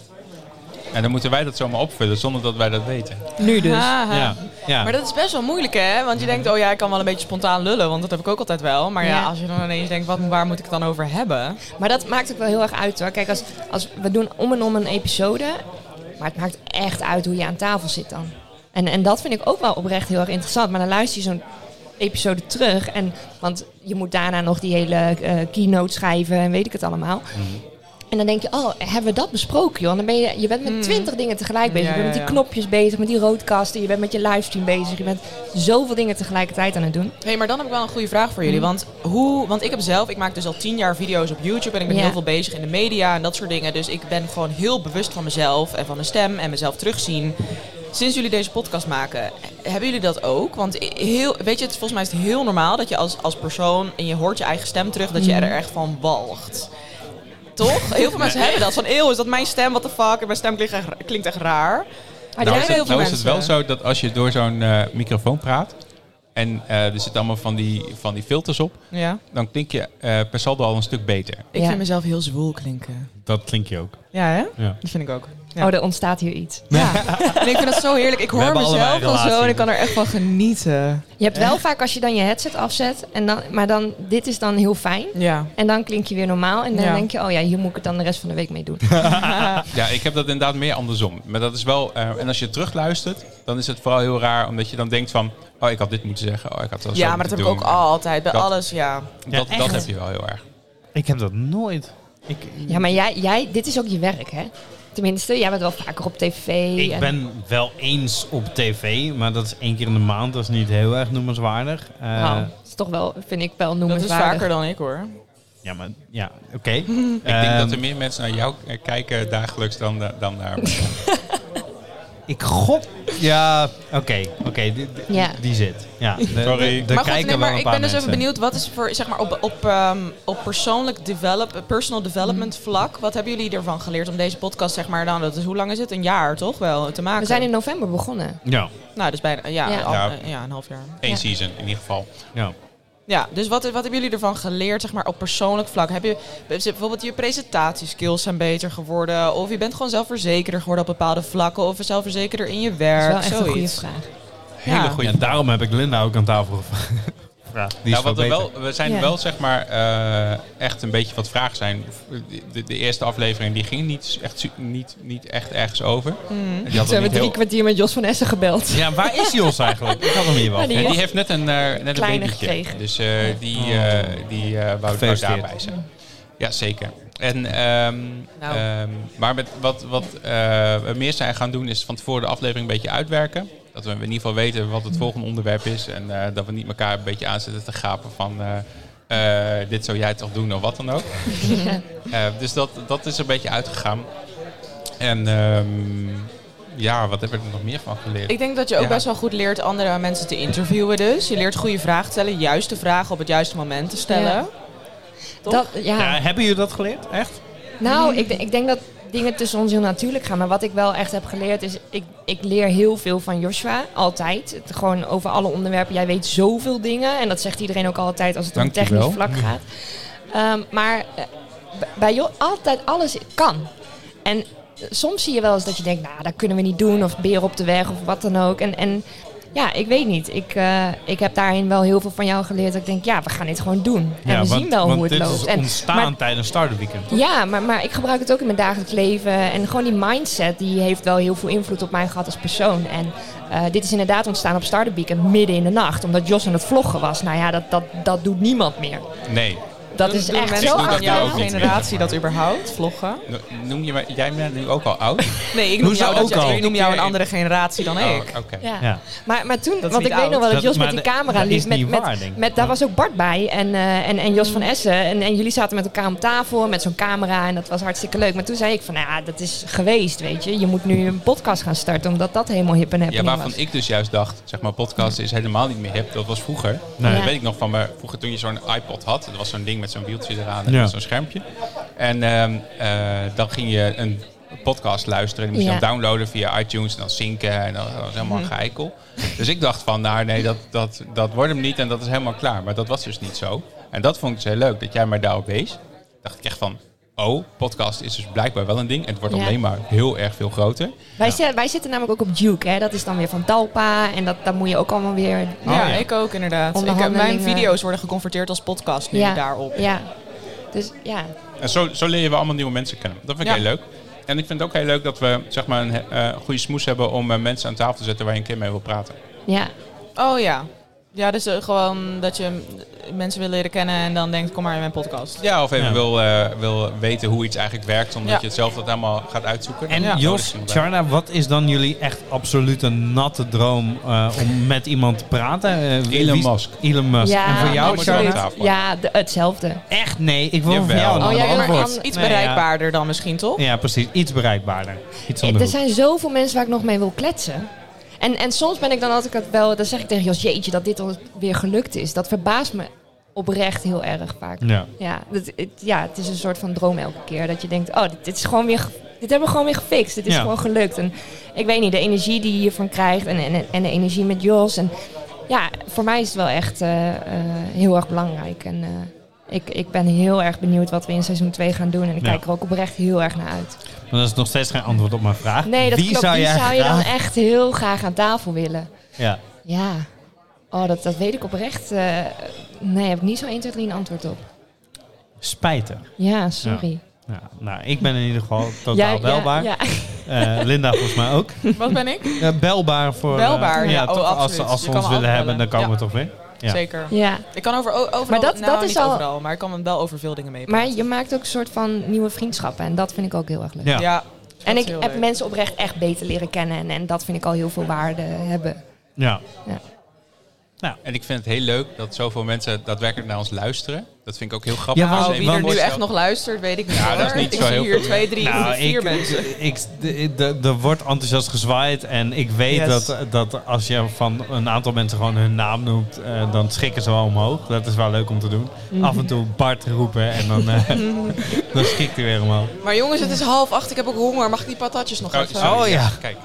En dan moeten wij dat zomaar opvullen zonder dat wij dat weten. Ah, Nu dus. Haha. Ja, ja. Maar dat is best wel moeilijk hè, want je denkt oh ja, ik kan wel een beetje spontaan lullen, want dat heb ik ook altijd wel. Maar ja, Ja. als je dan ineens denkt, wat, waar moet ik het dan over hebben? Maar dat maakt ook wel heel erg uit hoor. Kijk, als, als we doen om en om een episode. Maar het maakt echt uit hoe je aan tafel zit dan. En, en dat vind ik ook wel oprecht heel erg interessant. Maar dan luister je zo'n episode terug. En, want je moet daarna nog die hele eh, keynote schrijven en weet ik het allemaal. Mhm. En dan denk je, oh, hebben we dat besproken joh? En dan ben je, je bent met twintig dingen tegelijk bezig. Hmm. Ja, je bent ja, met ja. die knopjes bezig, met die roodkasten. Je bent met je livestream bezig. Je bent zoveel dingen tegelijkertijd aan het doen. Hé, maar dan heb ik wel een goede vraag voor jullie. Want, hoe, want ik heb zelf, ik maak dus al tien jaar video's op YouTube en ik ben Ja. heel veel bezig in de media en dat soort dingen. Dus ik ben gewoon heel bewust van mezelf en van mijn stem en mezelf terugzien. Sinds jullie deze podcast maken, he- hebben jullie dat ook? Want i- heel, weet je, het, volgens mij is het heel normaal dat je als, als persoon en je hoort je eigen stem terug, dat je er echt van walgt. Toch? Heel veel mensen hebben dat. Van, eeuw, is dat mijn stem? What the fuck? En mijn stem klinkt echt, klinkt echt raar. Maar Nou, er is zijn heel het, veel nou is het wel mensen. zo dat als je door zo'n eh, microfoon praat en eh, er zitten allemaal van die, van die filters op, Ja. dan klink je eh, per saldo al een stuk beter. Ik Ja. vind mezelf heel zwoel klinken. Dat klinkt je ook. Ja, hè? Ja. Dat vind ik ook. Ja. Oh, er ontstaat hier iets. Ja. En ik vind dat zo heerlijk. Ik hoor hebben mezelf allebei een al zo en relatie. ik kan er echt van genieten. Je hebt wel vaak als je dan je headset afzet. En dan, maar dan, dit is dan heel fijn. Ja. En dan klink je weer normaal. En dan Ja. denk je, oh ja, hier moet ik het dan de rest van de week mee doen. Ja, ik heb dat inderdaad meer andersom. Maar dat is wel, eh, en als je terugluistert, dan is het vooral heel raar omdat je dan denkt van, oh ik had dit moeten zeggen, oh ik had dat zo Ja, maar moeten dat heb ik ook doen. altijd. Bij Dat- alles, ja. Dat, Ja, dat echt. heb je wel heel erg. Ik heb dat nooit. Ik, Ja, maar jij, jij, dit is ook je werk, hè? Tenminste, jij bent wel vaker op tv. ik en- ben wel eens op tv, maar dat is één keer in de maand. Dat is niet heel erg noemenswaardig. Eh, Nou, Oh, dat is toch wel, vind ik wel Dat is noemenswaardig. vaker dan ik hoor. Ja, maar ja, oké. Ik denk Ehm, dat er meer mensen naar jou eh, kijken dagelijks dan, eh, dan naar mij. Ik god. Ja, oké, oké. die, die- Ja. die zit. Ja, de- Sorry. de- de maar goed, kijken nee, wel maar een ik paar ben dus even mensen. benieuwd, wat is voor, zeg maar, op, op, ehm, op persoonlijk develop, personal development vlak, wat hebben jullie ervan geleerd om deze podcast, zeg maar, dan, dat is, hoe lang is het? Een jaar toch wel, te maken? We zijn in november begonnen. Ja, Nou, dus bijna, ja, Ja. al- Ja. eh, ja, een half jaar. Eén Ja. season in ieder geval. ja. Ja, dus wat, wat hebben jullie ervan geleerd, zeg maar, op persoonlijk vlak? Heb je bijvoorbeeld je presentatieskills zijn beter geworden? Of je bent gewoon zelfverzekerder geworden op bepaalde vlakken? Of zelfverzekerder in je Dat is werk? wel echt een goede zoiets. vraag. Hele Ja. goede Ja, daarom heb ik Linda ook aan tafel gevraagd. Die is nou, wat veel er beter. wel, we zijn Ja. wel zeg maar eh, echt een beetje wat vragen zijn. De, de eerste aflevering die ging niet echt, su- niet, niet echt ergens over. En Die, Ze had ook hebben niet Mm. drie heel, kwartier met Jos van Essen gebeld. Ja, waar is Jos eigenlijk? Ik had hem hier wel. Ja, die- en die heeft net een, eh, net een Kleine babytje. gekregen. Dus eh, die, eh, die eh, wou, wou Gefeliciteerd. daarbij zijn. Ja, zeker. En, ehm, Nou. ehm, maar met wat, wat eh, we meer zijn gaan doen is van tevoren de aflevering een beetje uitwerken. Dat we in ieder geval weten wat het volgende onderwerp is. En eh, dat we niet elkaar een beetje aanzetten te gapen van... eh, eh, dit zou jij toch doen of wat dan ook. Eh, dus dat, dat is een beetje uitgegaan. En ehm, ja, wat hebben we er nog meer van geleerd? Ik denk dat je ook Ja. best wel goed leert andere mensen te interviewen dus. Je leert goede vragen stellen, juiste vragen op het juiste moment te stellen. Ja. Toch? Dat, ja. Ja, hebben jullie dat geleerd? Echt? Nou, ik, denk- ik denk dat dingen tussen ons heel natuurlijk gaan. Maar wat ik wel echt heb geleerd is, ik, ik leer heel veel van Joshua. Altijd. Het, gewoon over alle onderwerpen. Jij weet zoveel dingen. En dat zegt iedereen ook altijd als het om Dankjewel. technisch vlak gaat. Ehm, maar eh, b- bij jou altijd alles kan. En eh, soms zie je wel eens dat je denkt, nou, dat kunnen we niet doen. Of beren op de weg of wat dan ook. En, en ja, ik weet niet. Ik, eh, ik heb daarin wel heel veel van jou geleerd. Dat ik denk, ja, we gaan dit gewoon doen. En we zien wel hoe het dit loopt. is En- ontstaan maar tijdens Startup Weekend. ja, maar, maar ik gebruik het ook in mijn dagelijks leven. En gewoon die mindset die heeft wel heel veel invloed op mij gehad als persoon. En eh, dit is inderdaad ontstaan op Startup Weekend midden in de nacht. Omdat Jos aan het vloggen was. Nou ja, dat, dat, dat doet niemand meer. Nee. Dat Doen- is doen echt mensen zo Ik doe dat van jou jouw ook achterhaald. niet meer, generatie zeg dat überhaupt, vloggen? No- Noem je mij, jij bent nu ook al oud? Nee, ik noem Hoezo jou, dat ook jij- al? ik noem jou een andere generatie dan Oh, ik. Oké. Ja. Ja. Maar, maar toen, is want niet ik weet nog wel oud. dat Jos Dat- met die maar camera dat is liep. Met, niet met, waar, denk ik. met- daar was ook Bart bij en, eh, en, en Jos van Essen. En, en jullie zaten met elkaar om tafel met zo'n camera en dat was hartstikke leuk. Maar toen zei ik van, nou ja, dat is geweest, weet je. Je moet nu een podcast gaan starten, omdat dat helemaal hip en Ja, happening waarvan was. ik dus juist dacht, zeg maar, podcast is helemaal niet meer hip. Dat was vroeger. Nee. Dat Ja. weet ik nog van me. Vroeger toen je zo'n iPod had, dat was zo'n ding met zo'n wieltje eraan en Ja. zo'n schermpje. En ehm, eh, dan ging je een podcast luisteren. En die moest je Ja. Mhm. dan downloaden via iTunes en dan zinken. En dat dat was helemaal een geheikel. Dus ik dacht van, nou nee, dat, dat, dat wordt hem niet en dat is helemaal klaar. Maar dat was dus niet zo. En dat vond ik dus heel leuk, dat jij mij daarop wees. Dacht ik echt van, oh, podcast is dus blijkbaar wel een ding. En het wordt Ja. alleen maar heel erg veel groter. Wij, zi- wij zitten namelijk ook op Duke, hè? dat is dan weer van Talpa en dat, dat moet je ook allemaal weer... ja, ja. ik ook inderdaad. Ik, Oh. Onderhandelingen. mijn video's worden geconverteerd als podcast nu ja, daarop. Ja, dus ja. En zo, zo leren we allemaal nieuwe mensen kennen. Dat vind ik Ja. heel leuk. En ik vind het ook heel leuk dat we zeg maar, een eh, goede smoes hebben om eh, mensen aan tafel te zetten waar je een keer mee wil praten. ja. Oh ja. Ja, dus eh, gewoon dat je eh, mensen wil leren kennen en dan denkt, kom maar in mijn podcast. Oh, Ja, of even Ja. Wil, eh, wil weten hoe iets eigenlijk werkt, omdat Ja. je het zelf dat helemaal gaat uitzoeken. En Ja. Oh, dat is Jos, inderdaad- Charda, wat is dan jullie echt absolute natte droom eh, om met iemand te praten? Eh, wie- Elon wie- Musk. Elon Musk. Ja, en voor jou, absoluut. Charlotte? Charda? Aan tafel. Ja, de- hetzelfde. Echt nee, ik wil van Jawel. jou Oh, een jij wil maar antwoord. an- Iets Nee, ja. bereikbaarder dan misschien, toch? Ja. precies. Iets bereikbaarder. Iets Eh, onder Er zijn zoveel mensen waar ik nog mee wil kletsen. En, en soms ben ik dan altijd wel, dan zeg ik tegen Jos, jeetje, dat dit al weer gelukt is. Dat verbaast me oprecht heel erg vaak. Ja. Ja, dat, het, ja, het is een soort van droom elke keer. Dat je denkt, oh, dit, dit is gewoon weer, ge- dit hebben we gewoon weer gefixt. Dit is Ja. gewoon gelukt. En ik weet niet, de energie die je hiervan krijgt en, en, en de energie met Jos. En, ja, voor mij is het wel echt eh, eh, heel erg belangrijk. En eh, ik, ik ben heel erg benieuwd wat we in seizoen 2 gaan doen. En ik Ja. kijk er ook oprecht heel erg naar uit. Maar dat is nog steeds geen antwoord op mijn vraag. Nee, dat Wie klopt. zou Wie jij zou je dan graag- echt heel graag aan tafel willen? Ja. Ja. Oh, dat, dat weet ik oprecht. eh, nee, heb ik niet zo 1, 2, 3 een antwoord op. Spijten. Ja, sorry. Ja, nou, ik ben in ieder geval totaal Jij- ja, belbaar. Ja, Eh, Linda volgens mij ook. Wat ben ik? Ja, belbaar voor... eh, Belbaar, ja. Oh, toch, als, ze- absoluut. als Je ze kan ons me willen hebben, dan afbellen. komen we Ja. toch weer. Ja. Zeker. ja. Ik kan over, o- overal, Maar dat- nou, dat is niet al- overal, maar ik kan wel over veel dingen mee. Maar praten. je maakt ook een soort van nieuwe vriendschappen. En dat vind ik ook heel erg leuk. Ja. ja. en dat ik is heel heb leuk. mensen oprecht echt beter leren kennen. En, en dat vind ik al heel veel waarde hebben. Ja. Ja. Nou. En ik vind het heel leuk dat zoveel mensen daadwerkelijk naar ons luisteren. Dat vind ik ook heel grappig. Ja, Dus Nou, even wie er nu voorstellen. echt nog luistert, weet ik niet Ja, dat is hoor. niet ik zo zie heel hier veel. twee, drie, vier Nou, ik, mensen. ik, de- de- er wordt enthousiast gezwaaid. En ik weet Yes. dat, dat als je van een aantal mensen gewoon hun naam noemt, eh, dan schrikken ze wel omhoog. Dat is wel leuk om te doen. Af en toe Bart roepen en dan, eh, dan schrikt hij weer omhoog. Maar jongens, het is half acht. Ik heb ook honger. Mag ik die patatjes nog Oh, even? sorry. Oh ja. Kijk,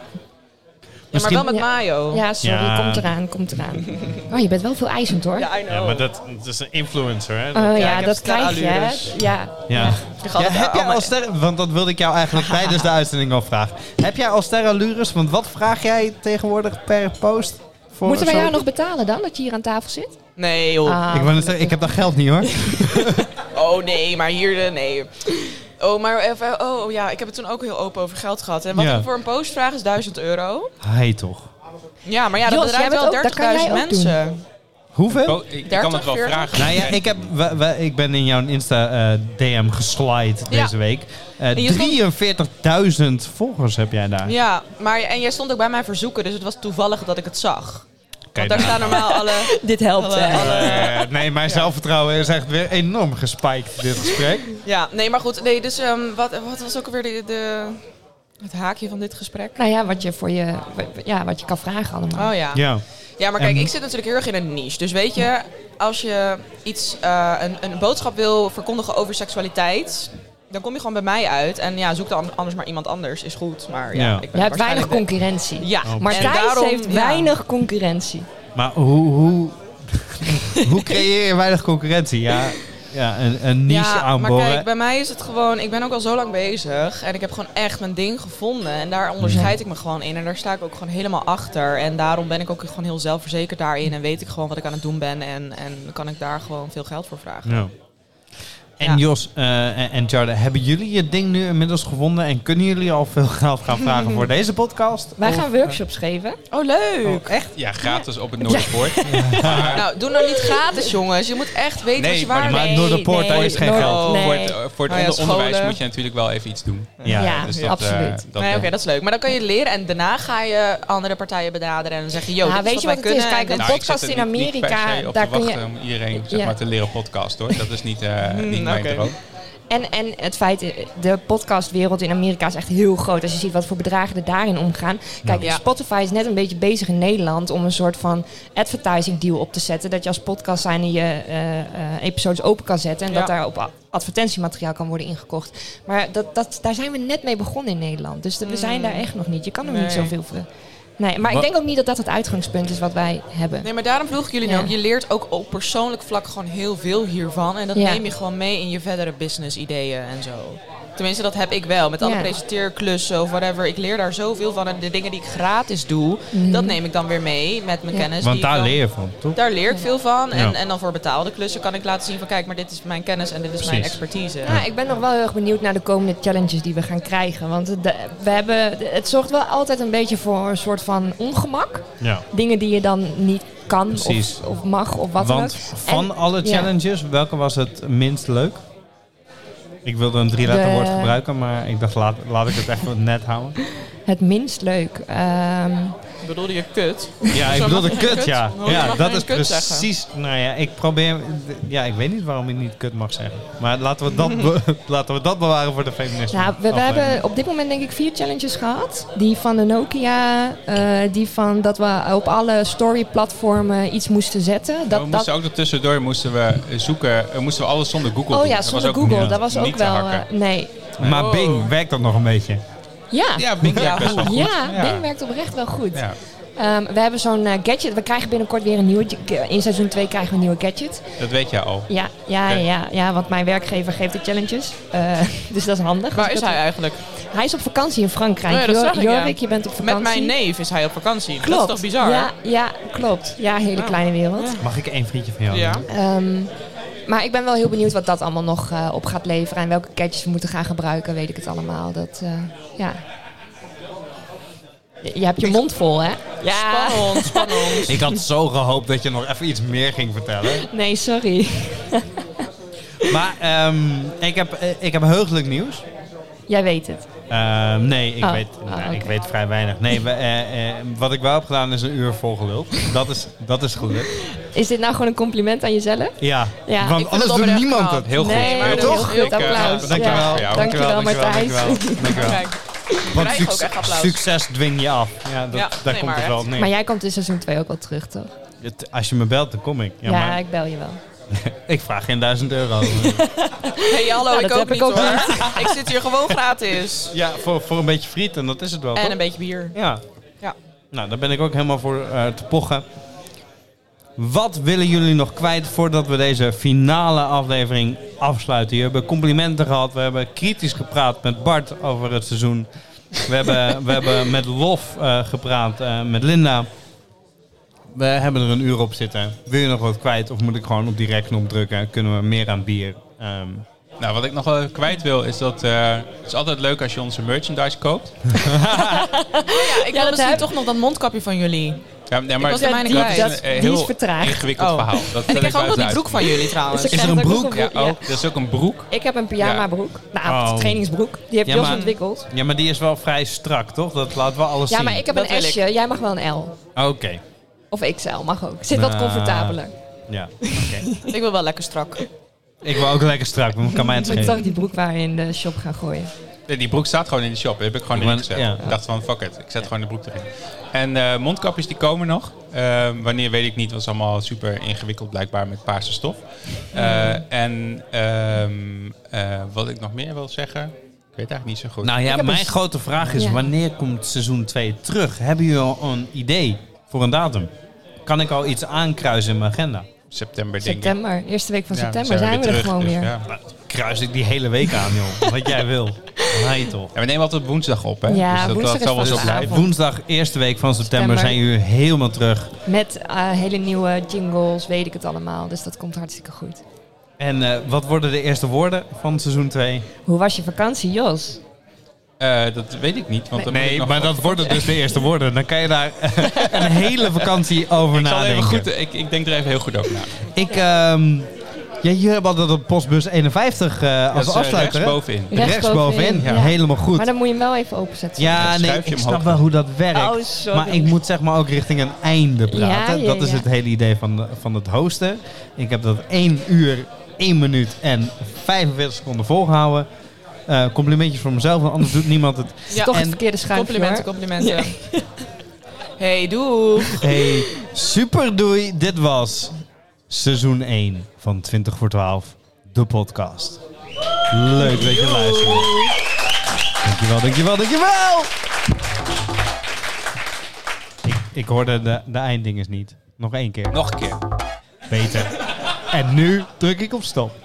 Ja, maar wel met Ja. mayo. Ja, sorry, Ja. komt eraan, komt eraan. Oh, je bent wel veel eisend hoor. Ja, I know. dat, is een influencer, hè? Oh ja, Ja, ik heb Oh, dat krijg je. hè? sterrenallures. Ja. ja. Ik ga altijd heb jij allemaal- al sterren... Want dat wilde ik jou eigenlijk tijdens de uitzending al vragen. Heb jij al sterrenlures? Want wat vraag jij tegenwoordig per post? Voor Moeten wij zo- jou nog betalen dan, dat je hier aan tafel zit? Nee joh. Ah, Ik, wou net zeggen, ik heb dat geld niet, hoor. Oh nee, maar hier, eh, nee. Oh, maar even, oh ja, ik heb het toen ook heel open over geld gehad. En wat Ja. ik voor een post vraag is 1000 euro. Hij toch. Ja, maar ja, dat Jos, jij bereikt bent wel ook- dat kan jij 30.000 ook doen. mensen. Hoeveel? Bo- Oh, ik, ik kan 30, het wel 40? vragen. Oh. Nou ja, ik, heb, we- we- ik ben in jouw Insta-DM geslide Ja. deze week. Eh, je stond- 43.000 volgers heb jij daar. Ja, maar en jij stond ook bij mijn verzoeken, dus het was toevallig dat ik het zag. Want Kijk daar nou. staan normaal alle. Dit helpt. alle, hè. alle- Eh, nee, mijn zelfvertrouwen is echt weer enorm gespiked dit gesprek. ja, nee, maar goed. Nee, dus ehm, wat, wat was ook alweer de, de, het haakje van dit gesprek? Nou ja, wat je, voor je, w- w- ja, wat je kan vragen allemaal. Oh ja. Ja. Ja, maar kijk, En- ik zit natuurlijk heel erg in een niche. Dus weet je, als je iets, eh, een, een boodschap wil verkondigen over seksualiteit, dan kom je gewoon bij mij uit. En ja, zoek dan anders maar iemand anders, is goed. Maar ja, Ja. ik ben je hebt weinig waarschijnlijk de- concurrentie. Ja, Oh, Maar en Thijs daarom- heeft ja. weinig concurrentie. Maar hoe, hoe, hoe creëer je weinig concurrentie? Ja, ja een, een niche Ja, maar aanboren. kijk, bij mij is het gewoon, ik ben ook al zo lang bezig en ik heb gewoon echt mijn ding gevonden. En daar onderscheid ik me gewoon in en daar sta ik ook gewoon helemaal achter. En daarom ben ik ook gewoon heel zelfverzekerd daarin en weet ik gewoon wat ik aan het doen ben. En, en kan ik daar gewoon veel geld voor vragen. Ja. En Ja. Jos eh, en- en Charde, hebben jullie je ding nu inmiddels gevonden? En kunnen jullie al veel geld gaan vragen voor deze podcast? Wij Of- gaan workshops geven. Oh, leuk! echt? Ja, gratis op het Noorderpoort. Nou, doe nou niet gratis, jongens. Je moet echt weten Nee, wat je maar- waar maar bent. Noorderpoort, daar is geen Noord- geld. Voor Nee. het, eh, voor het Oh ja, onder- onderwijs scholen. moet je natuurlijk wel even iets doen. Ja, Dus ja, dat, eh, absoluut. dat- nee, oké, dat is leuk. Maar dan kan je het leren en daarna ga je andere partijen benaderen en dan zeg je, yo, Ja, dit Nou, weet is je wat wat wij het is? kunnen. Kijk, en want dit- Nou, ik zit er podcast in niet- niet per se Amerika, op daar te kun je- wachten om iedereen zeg Ja. Hmm, maar, te leren podcast hoor. Dat is niet, eh, niet mijn oké. droom. En, en het feit, eh, de podcastwereld in Amerika is echt heel groot. Als je ziet wat voor bedragen er daarin omgaan. Kijk, Ja. Spotify is net een beetje bezig in Nederland om een soort van advertising deal op te zetten. Dat je als podcast zijn je eh, eh, episodes open kan zetten. En Ja. dat daar op a- advertentiemateriaal kan worden ingekocht. Maar dat, dat, daar zijn we net mee begonnen in Nederland. Dus de- we zijn daar echt nog niet. Je kan er Mm. Nee. niet zoveel voor. Nee, maar Wa- ik denk ook niet dat dat het uitgangspunt is wat wij hebben. Nee, maar daarom vroeg ik jullie Ja. nou ook. Je leert ook op persoonlijk vlak gewoon heel veel hiervan. En dat Ja. neem je gewoon mee in je verdere business ideeën en zo. Tenminste, dat heb ik wel. Met alle Ja. presenteerklussen of whatever. Ik leer daar zoveel van. En de dingen die ik gratis doe, dat neem ik dan weer mee met mijn Mhm. Ja. kennis. Want die ik daar dan- leer je van, toch? Daar leer ik veel van. En, Ja. en dan voor betaalde klussen kan ik laten zien van kijk, maar dit is mijn kennis en dit is mijn Precies. expertise. Ja, ik ben nog wel heel erg benieuwd naar de komende challenges die we gaan krijgen. Want het- de- we hebben, het zorgt wel altijd een beetje voor een soort van ongemak. Ja. Dingen die je dan niet kan Precies. of, of mag of wat Want dan ook. van En alle ja. challenges, welke was het minst leuk? Ik wilde een drie letter De- woord gebruiken, maar ik dacht laat, laat ik het even net houden. het minst leuk. Ehm, Bedoelde je kut? Ja, ik Zo bedoelde mag je kut, kut? ja. Oh, je Ja, mag dat geen is kut zeggen. precies. Nou ja, ik probeer. Ja, ik weet niet waarom ik niet kut mag zeggen. Maar laten we dat, be- laten we dat bewaren voor de feministen. nou, we, we hebben op dit moment denk ik vier challenges gehad. Die van de Nokia, eh, die van dat we op alle story-platformen iets moesten zetten. we Dat, dat, moesten Oh, ook nog tussendoor moesten we eh, zoeken, eh, moesten we alles zonder Google oh doen. ja, Dat was zonder ook Google. niet- dat was ook niet te wel... eh, hakken. nee. Maar Oh. Bing, werkt dat nog een beetje? Ja, ja, Ja, Bing werkt best wel goed. Bing werkt oprecht wel goed. Ja. Ehm, we hebben zo'n eh, gadget. We krijgen binnenkort weer een nieuwe. eh, In seizoen 2 krijgen we een nieuwe gadget. Dat weet jij al. Ja, ja, Oké. ja, ja, want mijn werkgever geeft de challenges. Eh, dus dat is handig. Waar Dus is dat- hij eigenlijk? Hij is op vakantie in Frankrijk. Oh ja, dat Jor- zag ik, ja. Jorik, je bent op vakantie. Met mijn neef is hij op vakantie. Klopt. Dat is toch bizar? Ja, ja klopt. Ja, hele Ja. kleine wereld. Mag ik één vriendje van jou? Ja. doen? Ehm, maar ik ben wel heel benieuwd wat dat allemaal nog eh, op gaat leveren. En welke gadgets we moeten gaan gebruiken, weet ik het allemaal. Dat, eh, ja. Je je hebt je mond vol, hè? Ja. Spannend, spannend. Ik had zo gehoopt dat je nog even iets meer ging vertellen. Nee, sorry. Maar ehm, ik, heb, eh, ik heb heugelijk nieuws. Jij weet het. Eh, Ehm, nee, ik, Oh. weet, Oh, nou, oké. ik weet vrij weinig. Nee, we- eh, eh, wat ik wel heb gedaan is een uur volgeluld. Dat is, dat is gelukt. Is dit nou gewoon een compliment aan jezelf? Ja, Ja, ik want vind anders het doet oprecht niemand knap. het. Heel goed. Nee, maar heel dat is toch? heel goed. Ik, eh, Applaus. Ja. Dankjewel. Dankjewel, Martijn. Dankjewel. dankjewel. Kijk, Want krijg ook succes- echt applaus. succes dwing je af. Ja, dat, Ja, daar nee, komt maar het wel echt. op neer. Maar jij komt in seizoen 2 ook wel terug, toch? Het- Als je me belt, dan kom ik. Ja, Ja, maar ik bel je wel. ik vraag geen duizend euro. hey, hallo, Nou, ik dat ook heb ik niet ook hoor. ik zit hier gewoon gratis. ja, voor, voor een beetje friet en dat is het wel. En toch? een beetje bier. Ja. Ja. Nou, daar ben ik ook helemaal voor eh, te pochen. Wat willen jullie nog kwijt voordat we deze finale aflevering afsluiten? Je hebben complimenten gehad. We hebben kritisch gepraat met Bart over het seizoen. We hebben, we hebben met Lof eh, gepraat, eh, met Linda. We hebben er een uur op zitten. Wil je nog wat kwijt of moet ik gewoon op die rekknop drukken? Kunnen we meer aan bier? Ehm, Nou, wat ik nog wel even kwijt wil, is dat eh, het is altijd leuk als je onze merchandise koopt. Ja, ik dat wil misschien heb- toch nog dat mondkapje van jullie. Ja, nee, maar was de mijne dat kwijt. is een Dat- eh, die is heel vertraagd. ingewikkeld Oh. verhaal. Dat En ik ben krijg ook nog die buitenuit. broek van jullie trouwens. Dus ik er krijg een ook nog broek? Ja, ja. ook. Er is ook een broek. Ik heb een pyjama broek. Nou, Oh. trainingsbroek. Die heeft Ja, Jos maar- ontwikkeld. ja, maar die is wel vrij strak, toch? Dat laat wel alles Ja, zien. maar ik heb Dat een wil ik. S'je. Jij mag wel een L. Oké, Of XL, mag ook. Zit wat Nou. comfortabeler. ja. Ik wil wel lekker strak. Ik wil ook lekker strak, maar kan mij het Moet ik schelen. toch die broek waar in de shop gaan gooien. Nee, die broek staat gewoon in de shop. Die heb ik gewoon Ja, erin gezet. ja. Ik dacht van, fuck it. Ik zet gewoon de broek erin. En eh, mondkapjes die komen nog. Eh, wanneer weet ik niet. was allemaal super ingewikkeld blijkbaar met paarse stof. Eh, en ehm, eh, wat ik nog meer wil zeggen. Ik weet eigenlijk niet zo goed. Nou ja, heb mijn een- grote vraag is: Ja. wanneer komt seizoen 2 terug? Hebben jullie al een idee voor een datum? Kan ik al iets aankruisen in mijn agenda? september denk ik. September. Eerste week van Ja, september zijn we er terug, gewoon dus weer. Ja. Maar Nou, Kruis ik die hele week aan, joh. Wat jij wil. Nee, toch? Ja, we nemen altijd woensdag op, hè? Ja, dus dat, woensdag dat is zal wel zo vaste blijven. avond. Woensdag, eerste week van september, zijn jullie helemaal terug. Met eh, hele nieuwe jingles, weet ik het allemaal. Dus dat komt hartstikke goed. En eh, wat worden de eerste woorden van seizoen 2? Hoe was je vakantie, Jos? Eh, dat weet ik niet, want dan moet ik nog- dat worden dus de eerste woorden. Dan kan je daar een hele vakantie over Ik, zal nadenken. even goed, ik, ik denk er even heel goed over na. Ik, ehm ja, jullie hebben altijd op postbus 51 eh, als Dat is, eh, afsluiter. hè? rechtsbovenin. Rechtsbovenin, Rechtsbovenin, ja. helemaal goed. Maar dan moet je hem wel even openzetten. ja, Dan nee, schuif ik je hem snap hoog. wel hoe dat werkt. Oh, sorry. maar ik moet zeg maar ook richting een einde praten. ja, dat is ja. het hele idee van, de- van het hosten. Ik heb dat 1 uur, 1 minuut en 45 seconden volgehouden. Eh, complimentjes voor mezelf, want anders doet niemand het. Ja, Toch en- het verkeerde schuifje, Complimenten, hoor. complimenten. Hey, doeg. Hey, super doei. Dit was seizoen 1 van 20 voor 12, de podcast. Leuk dat je luistert. Dankjewel, dankjewel, dankjewel. Ik, ik hoorde de, de einddinges niet. Nog één keer. Nog een keer. Beter. En nu druk ik op stop.